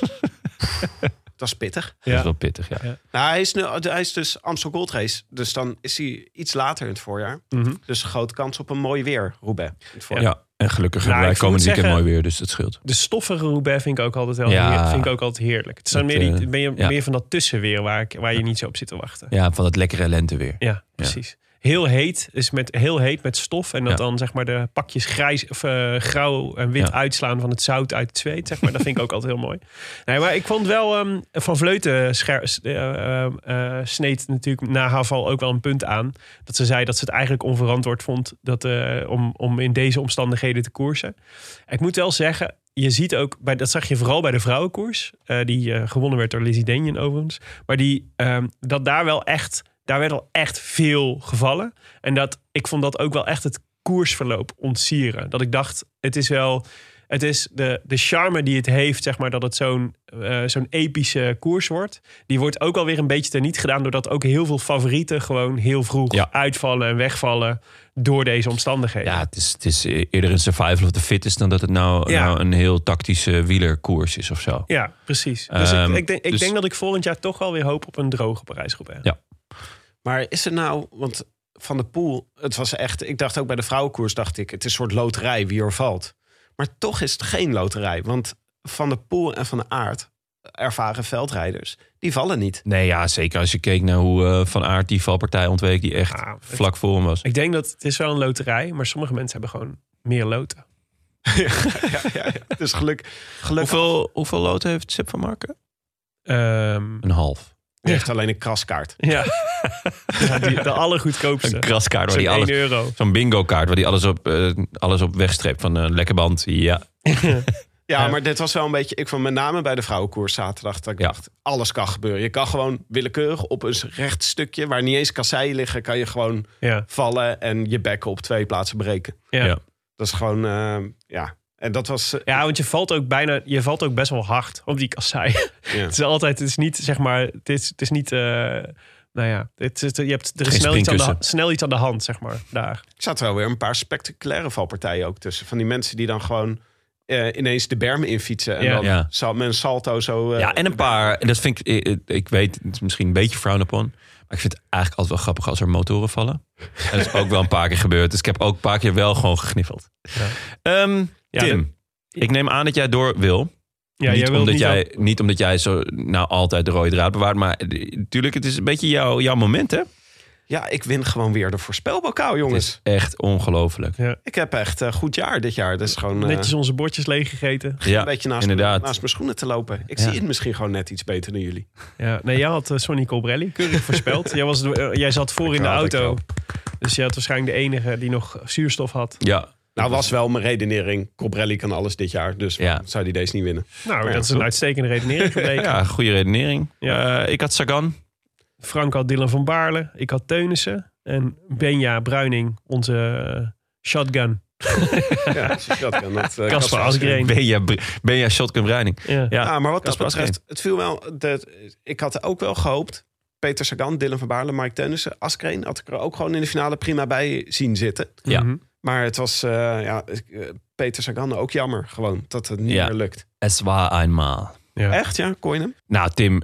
dat is pittig. Dat Ja. is wel pittig, ja. Nou, hij, is nu, hij is dus Amstel Gold Race. Dus dan is hij iets later in het voorjaar. Mhm. Dus grote kans op een mooi weer, Roubaix. in het Ja, voorjaar. en gelukkig Nou, hebben wij ik moet komend weekend zeggen- mooi weer, dus dat scheelt. De stoffige Roubaix vind ik ook altijd, wel Ja. heer- vind ik ook altijd heerlijk. Het is dan Dat, meer, die, eh, ben je, ja. meer van dat tussenweer waar, ik, waar je niet zo op zit te wachten. Ja, van dat lekkere lenteweer. Ja, precies. Heel heet is met heel heet met stof. En dat Ja. dan zeg maar de pakjes grijs of eh, grauw en wit Ja. uitslaan van het zout uit het zweet. Zeg maar. Dat vind ik ook altijd heel mooi. Nee, maar ik vond wel ehm, van Vleuten scher, s- eh, ehm, eh, sneed natuurlijk na Haval ook wel een punt aan. Dat ze zei dat ze het eigenlijk onverantwoord vond dat, eh, om, om in deze omstandigheden te koersen. Ik moet wel zeggen, je ziet ook, bij, dat zag je vooral bij de vrouwenkoers, eh, die eh, gewonnen werd door Lizzie Denjen overigens. Maar die, ehm, dat daar wel echt, daar werd al echt veel gevallen. En dat, ik vond dat ook wel echt het koersverloop ontsieren. Dat ik dacht, het is wel, het is de, de charme die het heeft, zeg maar, dat het zo'n eh, zo'n epische koers wordt. Die wordt ook alweer een beetje teniet gedaan, doordat ook heel veel favorieten gewoon heel vroeg Ja. uitvallen en wegvallen door deze omstandigheden. Ja, het is, het is eerder een survival of the fittest dan dat het nou, Ja. nou een heel tactische wielerkoers is of zo. Ja, precies. Dus Ehm, ik, ik, denk, ik dus- denk dat ik volgend jaar toch wel weer hoop op een droge Parijs-Roubaix. Ja. Maar is het nou, want Van de Poel, het was echt, ik dacht ook bij de vrouwenkoers, dacht ik, het is een soort loterij wie er valt. Maar toch is het geen loterij, want Van de Poel en Van de Aert, ervaren veldrijders, die vallen niet. Nee, ja, zeker als je keek naar hoe eh, Van Aert die valpartij ontweek, die echt Ah, het- vlak voor hem was. Ik denk dat het is wel een loterij, maar sommige mensen hebben gewoon meer loten. ja, ja, ja. Dus geluk, gelukkig Hoeveel, hoeveel loten heeft Sip van Marken? Ehm, Een half. heeft alleen een kraskaart. ja. ja die, de allergoedkoopste. Een kraskaart waar Zo'n die 1 alles... euro. Zo'n bingo kaart waar die alles op, eh, alles op wegstreept van een lekker band. Ja, Ja, Ja. maar dit was wel een beetje, ik vond met name bij de vrouwenkoers zaterdag, dat ik Ja. dacht, alles kan gebeuren. Je kan gewoon willekeurig op een recht stukje, waar niet eens kasseien liggen, kan je gewoon Ja, vallen en je bekken op twee plaatsen breken. ja. ja. Ja. Dat is gewoon, eh, ja. En dat was. eh, want je valt ook bijna, je valt ook best wel hard op die kassei. ja. het is altijd, het is niet, zeg maar, het is, het is niet, eh, nou ja, het is, je hebt, er is Geen snel iets, aan de, springkussen. snel iets aan de hand, zeg maar, daar. Er zaten wel weer een paar spectaculaire valpartijen ook tussen. Van die mensen die dan gewoon eh, ineens de berm infietsen. En Ja. dan Ja. zal men salto zo. eh, ja, en een paar. En dat vind ik, eh, eh, ik weet, het is misschien een beetje frown upon. Maar ik vind het eigenlijk altijd wel grappig als er motoren vallen. En dat is ook wel een paar keer gebeurd. Dus ik heb ook een paar keer wel gewoon gegniffeld. Ehm, Ja, Tim, ik neem aan dat jij door wil. Ja, niet, jij wilt omdat niet jij, niet omdat jij zo nou altijd de rode draad bewaart. Maar eh, natuurlijk, het is een beetje jouw, jouw moment, hè? ja, ik win gewoon weer de voorspelbokaal, Het jongens. is echt ongelooflijk. Ik heb echt een goed jaar dit jaar. Dat is gewoon. eh, netjes onze bordjes leeggegeten. Ja, een beetje naast, inderdaad. naast mijn schoenen te lopen. Ik Ja. zie het misschien gewoon net iets beter dan jullie. Ja, nee, jij had eh, Sonny Colbrelli keurig voorspeld. Jij, was, de- eh, jij zat voor in de had ik auto. wel. Dus jij had waarschijnlijk de enige die nog zuurstof had. Ja, Nou was wel mijn redenering. Cobrelli kan alles dit jaar. Dus Ja. zou die deze niet winnen. Nou, Ja, dat is een goed. uitstekende redenering gebleken. ja, goede redenering. Ja. Eh, ik had Sagan. Frank had Dylan van Baarle. Ik had Teunissen. En Benja Bruining, onze eh, shotgun. ja, als je dat kan. Dat, Casper eh, kan ze- Asgreen. Ben jij, ben jij Shotgun Bruining? Ja. Ja, Ja, maar wat dat Casper betreft, het viel wel. Dat, ik had ook wel gehoopt. Peter Sagan, Dylan van Baarle, Mike Tennissen, Askreen had ik er ook gewoon in de finale prima bij zien zitten. Ja. Mhm. Maar het was eh, ja, eh, Peter Sagan ook jammer gewoon dat het niet Ja. meer lukt. Es war einmal. Ja. Echt ja, kon je hem? Nou, Tim,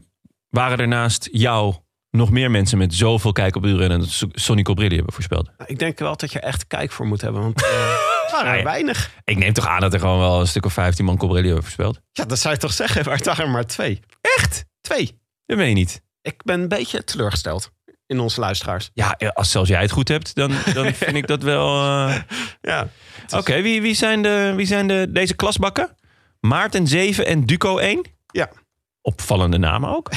waren er naast jou nog meer mensen met zoveel kijk op uren en Sonny Cobrilli hebben voorspeld. Nou, Ik denk wel dat je echt kijk voor moet hebben, want eh, het waren Nou ja. er weinig. Ik neem toch aan dat er gewoon wel een stuk of 15 man Cobrilli hebben voorspeld. Ja, dat zou je toch zeggen, maar het waren er maar twee. Echt? Twee. Dat meen je niet. Ik ben een beetje teleurgesteld in onze luisteraars. Ja, eh, als zelfs jij het goed hebt, dan, dan vind ik dat wel... eh, Ja, Oké, wie, wie zijn, de, wie zijn de, deze klasbakken? Maarten 7 en Duco 1? Ja. Opvallende namen ook.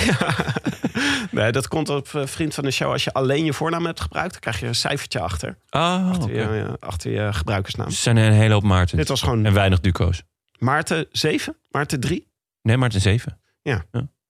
nee, dat komt op eh, Vriend van de Show. Als je alleen je voornaam hebt gebruikt, dan krijg je een cijfertje achter. Oh, oké. Achter, je, eh, achter je gebruikersnaam. Dus er zijn een hele hoop Maarten. Dit was gewoon En weinig Duco's. Maarten 7, Maarten 3. Nee, Maarten 7.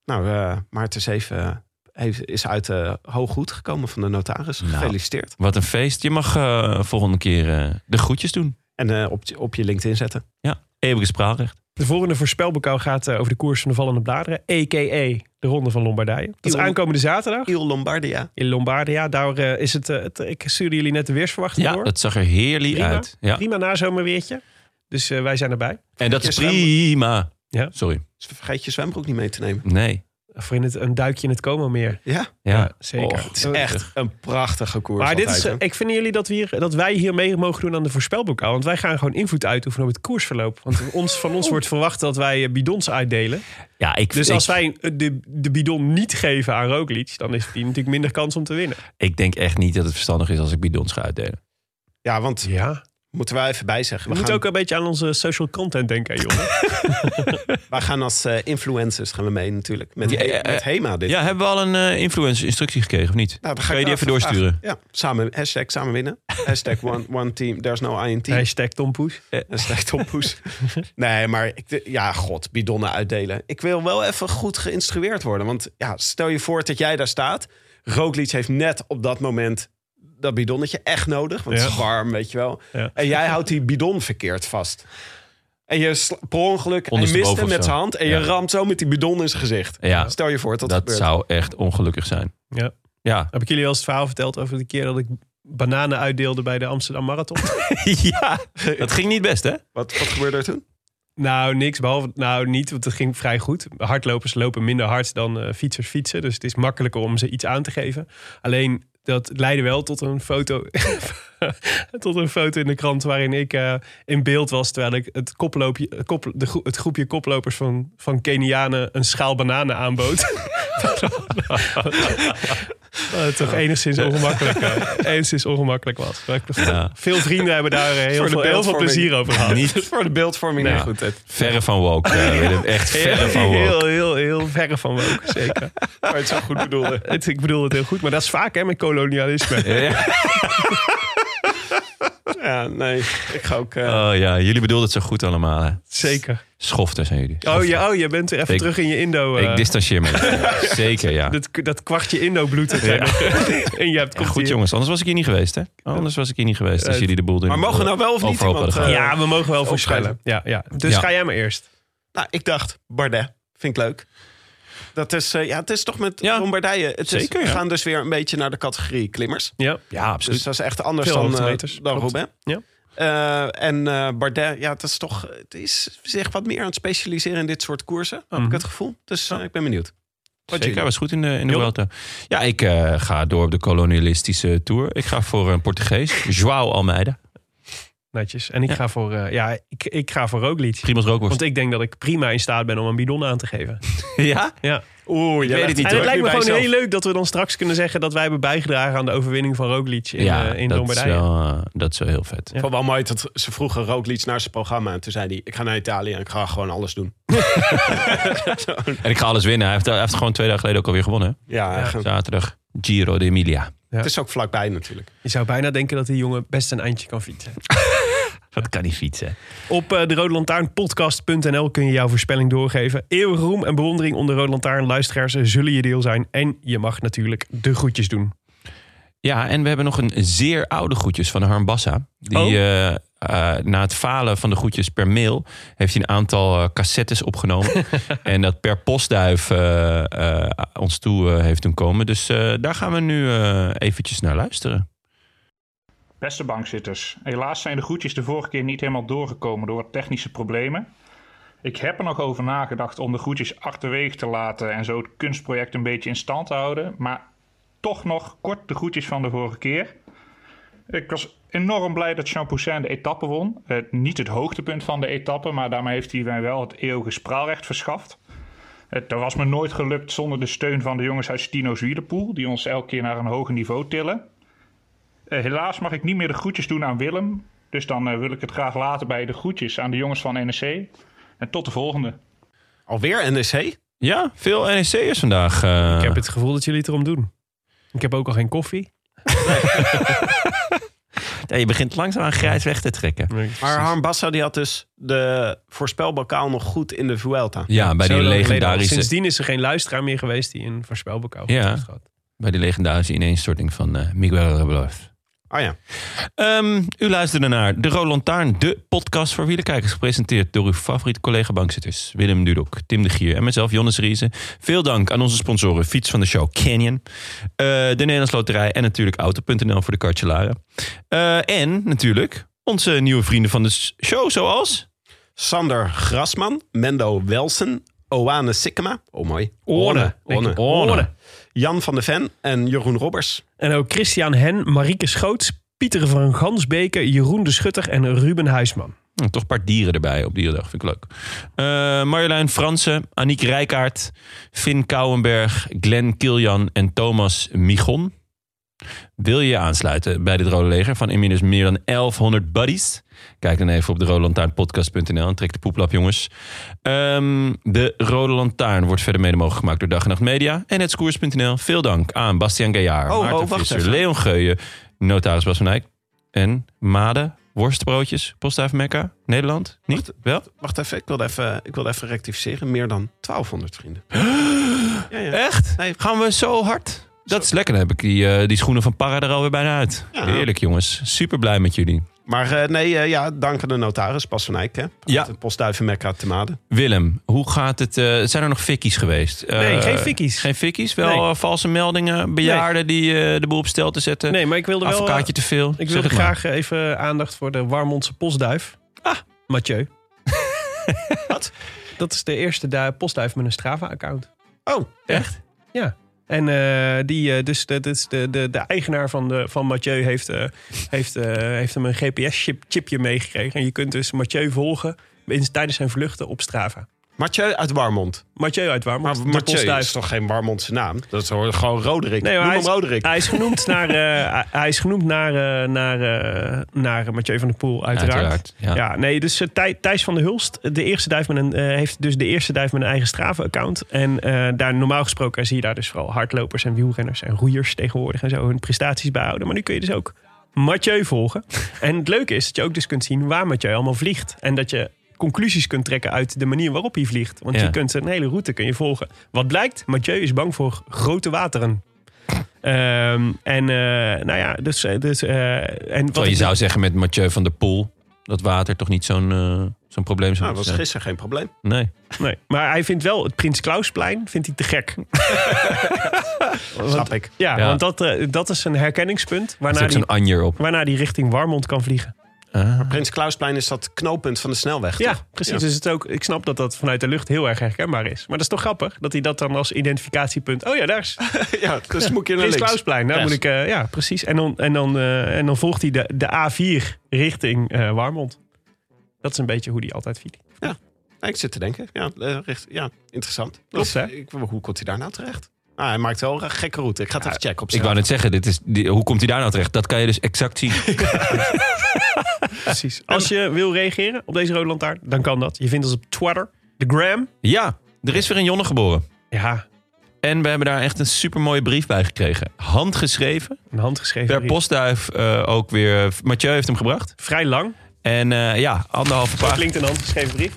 Nou, eh, Maarten 7 heeft, is uit de hooggoed gekomen van de notaris. Nou. Gefeliciteerd. Wat een feest. Je mag eh, volgende keer eh, de groetjes doen. En eh, op, op je LinkedIn zetten. Ja, eeuwige spraalrecht. De volgende voorspelbokaal gaat eh, over de koers van de vallende bladeren. A.k.a. de Ronde van Lombardije. Dat is Ion- aankomende zaterdag Il Lombardia. in Lombardia. Daar eh, is het, eh, het- Ik stuurde jullie net de weersverwachting Ja, door. dat zag er heerlijk Prima. uit. Ja. Prima nazomerweertje. Dus eh, wij zijn erbij. En dat is Vergeet je prima. Ja. Sorry. Dus vergeet je zwembroek niet mee te nemen. Nee. Voor in het, een duikje in het Como-meer. Ja, Oh, Ja, Ja, zeker. Och, Het het is echt een prachtige koers. Maar dit is, altijd, eh, ik vind jullie dat, we hier, dat wij hier mee mogen doen aan de voorspelbokaal. Want wij gaan gewoon invloed uitoefenen op het koersverloop. Want ons, van ons wordt verwacht dat wij eh, bidons uitdelen. ja, ik, Dus ik- als wij eh, de, de bidon niet geven aan Roglic... dan is die natuurlijk minder kans om te winnen. ik denk echt niet dat het verstandig is als ik bidons ga uitdelen. hè? Ja, want Ja. moeten we wel even bij zeggen. We We moeten gaan, ook een beetje aan onze social content denken, hè, jongen. wij gaan als eh, influencers gaan we mee natuurlijk. Met, Ja, ja, ja. met Hema dit. Ja, hebben we al een eh influencer instructie gekregen of niet? Nou, dan ga Kan ik je die daar even doorsturen? vragen. Ja, samen, hashtag samen winnen. Hashtag one, one team, there's no I in team. Hashtag Tompoes. Hashtag tompoes. nee, maar ik, ja, god, bidonnen uitdelen. Ik wil wel even goed geïnstrueerd worden. Want ja, stel je voor dat jij daar staat. Roglic heeft net op dat moment dat bidonnetje echt nodig. Want het is Ja. warm, weet je wel. Ja. En jij houdt die bidon verkeerd vast. En je sla- per ongeluk, hij Ondersteboven mist hem of met zo. zijn hand. En Ja. je ramt zo met die bidon in zijn gezicht. Ja, Stel je voor dat dat dat gebeurt. zou echt ongelukkig zijn. Ja. Ja. Heb ik jullie wel eens het verhaal verteld over de keer dat ik bananen uitdeelde bij de Amsterdam Marathon? ja, dat ging niet best, hè? Wat, wat gebeurde er toen? nou, niks. Behalve, nou niet, want het ging vrij goed. Hardlopers lopen minder hard dan eh, fietsers fietsen. Dus het is makkelijker om ze iets aan te geven. Alleen, dat leidde wel tot een foto, tot een foto in de krant waarin ik eh, in beeld was. Terwijl ik het, koploopje, het kop, de gro- het groepje koplopers van, van Kenianen een schaal bananen aanbood. Wat toch enigszins ongemakkelijk, eh, enigszins ongemakkelijk was. Maar ik- Ja. Veel vrienden hebben daar eh, heel, de veel, heel veel beeldvorming. plezier over gehad. Niet Voor de beeldvorming Ja. niet goed. Ed. verre van woke. eh, Willem. Echt verre van woke. heel, heel, heel verre van woke, zeker. Maar het zo goed bedoelde. Het- ik bedoel het heel goed, maar dat is vaak hè, met kolonialisme. Ja. Ja, nee. Ik ga ook... eh, Oh ja, jullie bedoelden het zo goed allemaal. Hè. Zeker. Schofter zijn jullie. Oh, ja, oh, je bent weer even Ik- terug in je Indo. eh, Ik distancieer me. Zeker, ja. dat, dat kwartje Indo-bloed. dat jij nog- en je hebt Ja, goed hier. jongens, anders was ik hier niet geweest, hè? Anders was ik hier niet geweest als jullie de boel doen. maar mogen we nou wel of niet? Overhoop Want, hadden eh, gehaald. Ja, we mogen wel voorspellen. opschrijven. Ja, ja. Dus Ja. ga jij maar eerst. Nou, ik dacht, Bardet. Vind ik leuk. Dat is, eh, ja, het is toch met Ja. Lombardije. Het is- Zeker, we ja. gaan dus weer een beetje naar de categorie klimmers. Ja. Ja, absoluut. Dus dat is echt anders Veel dan, eh hoogtemeters, dan klopt. Roubaix. Ja. Eh, en eh Bardet, ja, het is toch het is zich wat meer aan het specialiseren in dit soort koersen. Heb Mhm. ik het gevoel. Dus eh, ik ben benieuwd. Wat Zeker, jullie? hij was goed in de, in de Vuelta. Ja, ik eh, ga door op de kolonialistische tour. Ik ga voor een Portugees, João Almeida. Netjes. En ik Ja. ga voor, eh, ja, ik, ik ga voor Roglic. Primoz Rookworst. Want ik denk dat ik prima in staat ben om een bidon aan te geven. Ja? Ja. Oeh, weet jij legt het niet, En nu het lijkt me bij gewoon jezelf. heel leuk dat we dan straks kunnen zeggen dat wij hebben bijgedragen aan de overwinning van Roglic in, ja, eh, in dat, is Lombardije. wel, eh, dat is wel heel vet. Ik vond wel mooi dat ze vroegen Roglic naar zijn programma. En toen zei hij, ik ga naar Italië en ik ga gewoon alles doen. En ik ga alles winnen. Hij heeft, hij heeft gewoon twee dagen geleden ook alweer gewonnen. Ja, hè? ge- Zaterdag, Giro de Emilia. het is ook vlakbij natuurlijk. Je zou bijna denken dat die jongen best een eindje kan fietsen. Dat kan niet fietsen. Op eh, de Rode Lantaarn podcast.nl kun je jouw voorspelling doorgeven. Eeuwige roem en bewondering onder Rode Lantaarn luisteraars zullen je deel zijn. En je mag natuurlijk de groetjes doen. Ja, en we hebben nog een zeer oude groetjes van Harm Bassa. Die Oh. eh, eh, na het falen van de groetjes per mail... heeft hij een aantal eh, cassettes opgenomen. en dat per postduif eh, eh, ons toe eh, heeft doen komen. Dus eh, daar gaan we nu eh, eventjes naar luisteren. Beste bankzitters, helaas zijn de groetjes de vorige keer niet helemaal doorgekomen door wat technische problemen. Ik heb er nog over nagedacht om de groetjes achterwege te laten en zo het kunstproject een beetje in stand te houden, maar toch nog kort de groetjes van de vorige keer. Ik was enorm blij dat Jean Poussin de etappe won. Eh, niet het hoogtepunt van de etappe, maar daarmee heeft hij mij wel het eeuwige spraalrecht verschaft. Het dat was me nooit gelukt zonder de steun van de jongens uit Stino's Wielenpoel, die ons elke keer naar een hoger niveau tillen. Eh, helaas mag ik niet meer de groetjes doen aan Willem, dus dan eh, wil ik het graag laten bij de groetjes aan de jongens van NEC. En tot de volgende. Alweer NEC? Ja, veel NEC'ers vandaag. eh. Ik heb het gevoel dat jullie het erom doen. Ik heb ook al geen koffie. Ja, je begint langzaamaan grijs weg te trekken. Maar Harm Bassa die had dus de voorspelbokaal nog goed in de Vuelta. Ja, bij Zo die, lang geleden al. legendarische, Sindsdien is er geen luisteraar meer geweest die een voorspelbokaal Ja. ja. had. bij die legendarische ineenstorting van eh, Miguel Rebelov. Oh ja. Ehm, u luisterde naar De Roland Taarn, de podcast voor wielerkijkers. Gepresenteerd door uw favoriete collega-bankzitters. Willem Dudok, Tim de Gier en mezelf, Jonas Riese. Veel dank aan onze sponsoren Fiets van de Show Canyon. eh, de Nederlands Loterij en natuurlijk Auto.nl voor de kartjelaren. Eh, en natuurlijk onze nieuwe vrienden van de s- show, zoals... Sander Grasman, Mendo Welsen, Oane Sikkema. Oh mooi. Orne. Orne. Jan van de Ven en Jeroen Robbers. En ook Christian Hen, Marieke Schoots, Pieter van Gansbeke, Jeroen de Schutter en Ruben Huisman. Hm, toch een paar dieren erbij op Dierendag. Vind ik leuk. Eh, Marjolein Fransen, Aniek Rijkaard, Finn Kouwenberg, Glenn Kiljan en Thomas Michon. Wil je je aansluiten bij dit Rode Leger van inmiddels meer dan 1100 buddies? Kijk dan even op de rodelantaarnpodcast.nl en trek de poeplap, jongens. Ehm, de Rode Lantaarn wordt verder mede mogelijk gemaakt door Dag en Nacht Media en hetskoers.nl. Veel dank aan Bastiaan Gaillard, Oh, Maarten oh, wacht Visser, even. Leon Geuyen, notaris Bas van Eyck en Made, worstbroodjes, Postduif Mekka, Nederland. Niet? Wel? Wacht even, ik wilde even, ik wilde even rectificeren. Meer dan 1200 vrienden. ja, ja. Echt? Nee. Gaan we zo hard? Dat is lekker. Dan heb ik die, eh, die schoenen van Parra er alweer bijna uit. Ja. Heerlijk, jongens. Super blij met jullie. Maar eh, nee, eh, ja, dank aan de notaris, Bas van Eyck. Hè? Ja. De postduiven Mekka te Maden. Willem, hoe gaat het? eh, zijn er nog fikkies geweest? Nee, Eh, geen fikkies. Geen fikkies? Wel Nee. eh, valse meldingen, bejaarden die eh, de boel op stel te zetten. Nee, maar ik wilde wel... eh, Advocaatje te veel. Ik Zeg wilde het maar. graag eh, even aandacht voor de Warmondse postduif. Ah. Mathieu. Wat? Dat is de eerste du- postduif met een Strava-account. Oh, Echt? Ja. En eh, die, eh, dus de, dus de, de, de eigenaar van, de, van Mathieu heeft, eh, heeft, eh, heeft hem een GPS-chipje meegekregen. En je kunt dus Mathieu volgen in- tijdens zijn vluchten op Strava. Mathieu uit Warmond. Mathieu uit Warmond, Maar Ah, de Mathieu postduif. is toch geen Warmondse naam? Dat is hoor- gewoon Roderick. Nee, maar Noem hij hem is- Roderick. Hij is genoemd naar, eh, hij is genoemd naar, eh, naar, eh, naar eh, Mathieu van der Poel, uiteraard. Uiteraard, ja. ja. nee, dus eh, Thij- Thijs van der Hulst, de eerste duif met een, eh, heeft dus de eerste duif met een eigen Strava-account. En eh, daar, normaal gesproken zie je daar dus vooral hardlopers en wielrenners en roeiers tegenwoordig en zo hun prestaties bijhouden. Maar nu kun je dus ook Mathieu volgen. En het leuke is dat je ook dus kunt zien waar Mathieu allemaal vliegt. En dat je conclusies kunt trekken uit de manier waarop hij vliegt. Want Ja. je kunt een hele route kun je volgen. Wat blijkt, Mathieu is bang voor grote wateren. Ehm, en eh, nou ja, dus... eh, dus eh, en wat Terwijl je ik- zou zeggen met Mathieu van der Poel... dat water toch niet zo'n eh, zo'n probleem zou Nou, dat was zijn. gisteren geen probleem. Nee. Nee, maar hij vindt wel het Prins Klausplein vindt hij te gek. Snap ik. Ja, Ja. want dat, eh, dat is een herkenningspunt Er zit waarna ook die, zo'n anjer op. waarna die richting Warmond kan vliegen. Ah. Prins Klausplein is dat knooppunt van de snelweg. toch? Ja, precies. Ja. Dus het is ook, ik snap dat dat vanuit de lucht heel erg herkenbaar is. Maar dat is toch grappig dat hij dat dan als identificatiepunt. Oh ja, daar Ah, is ja dus moet je naar Prins links. Klausplein. Daar Ja. moet ik, eh, ja, precies. En dan, en dan, eh, en dan volgt hij de, de A4 richting eh, Warmond. Dat is een beetje hoe hij altijd fietst. Ja, ik zit te denken. Ja, eh, richt, ja interessant. Klopt, hè? Ik, hoe komt hij daar nou terecht? Ah, hij maakt wel een gekke route. Ik ga het even checken op Ik zijn. wou net zeggen, dit is, die- hoe komt hij daar nou terecht? Dat kan je dus exact zien. Precies. Als je wil reageren op deze rode lantaarn, dan kan dat. Je vindt ons op Twitter, de Gram. Ja, er is weer een Jonne geboren. Ja, En we hebben daar echt een supermooie brief bij gekregen. Handgeschreven, een handgeschreven per brief. postduif eh, ook weer. Mathieu heeft hem gebracht. Vrij lang. En eh, ja, anderhalve Dat pagina. klinkt een handgeschreven brief.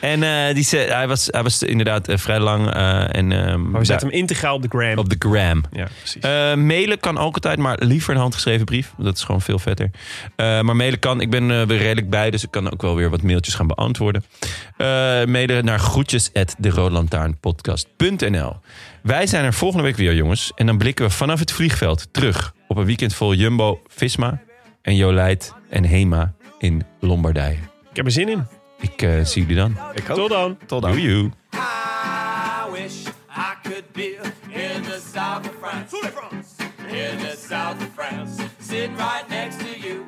En eh, die, ze- hij, was, hij was inderdaad eh, vrij lang. eh, en, ehm, Maar we zetten daar- hem integraal op de gram. op de gram. Ja, precies. Eh, mailen kan ook altijd, maar liever een handgeschreven brief. want Dat is gewoon veel vetter. Eh, maar mailen kan. Ik ben eh, weer redelijk bij, dus ik kan ook wel weer wat mailtjes gaan beantwoorden. Eh, mailen naar groetjes at deroodlantaarnpodcast.nl. Wij zijn er volgende week weer, jongens. En dan blikken we vanaf het vliegveld terug op een weekend vol Jumbo, Visma en Jolijt en Hema in Lombardije. Ik heb er zin in. Ik eh, zie jullie dan. Ik ook. Tot dan. Tot dan. Doei. doei. I wish I could be in the south of France. In the south of France. Sit right next to you.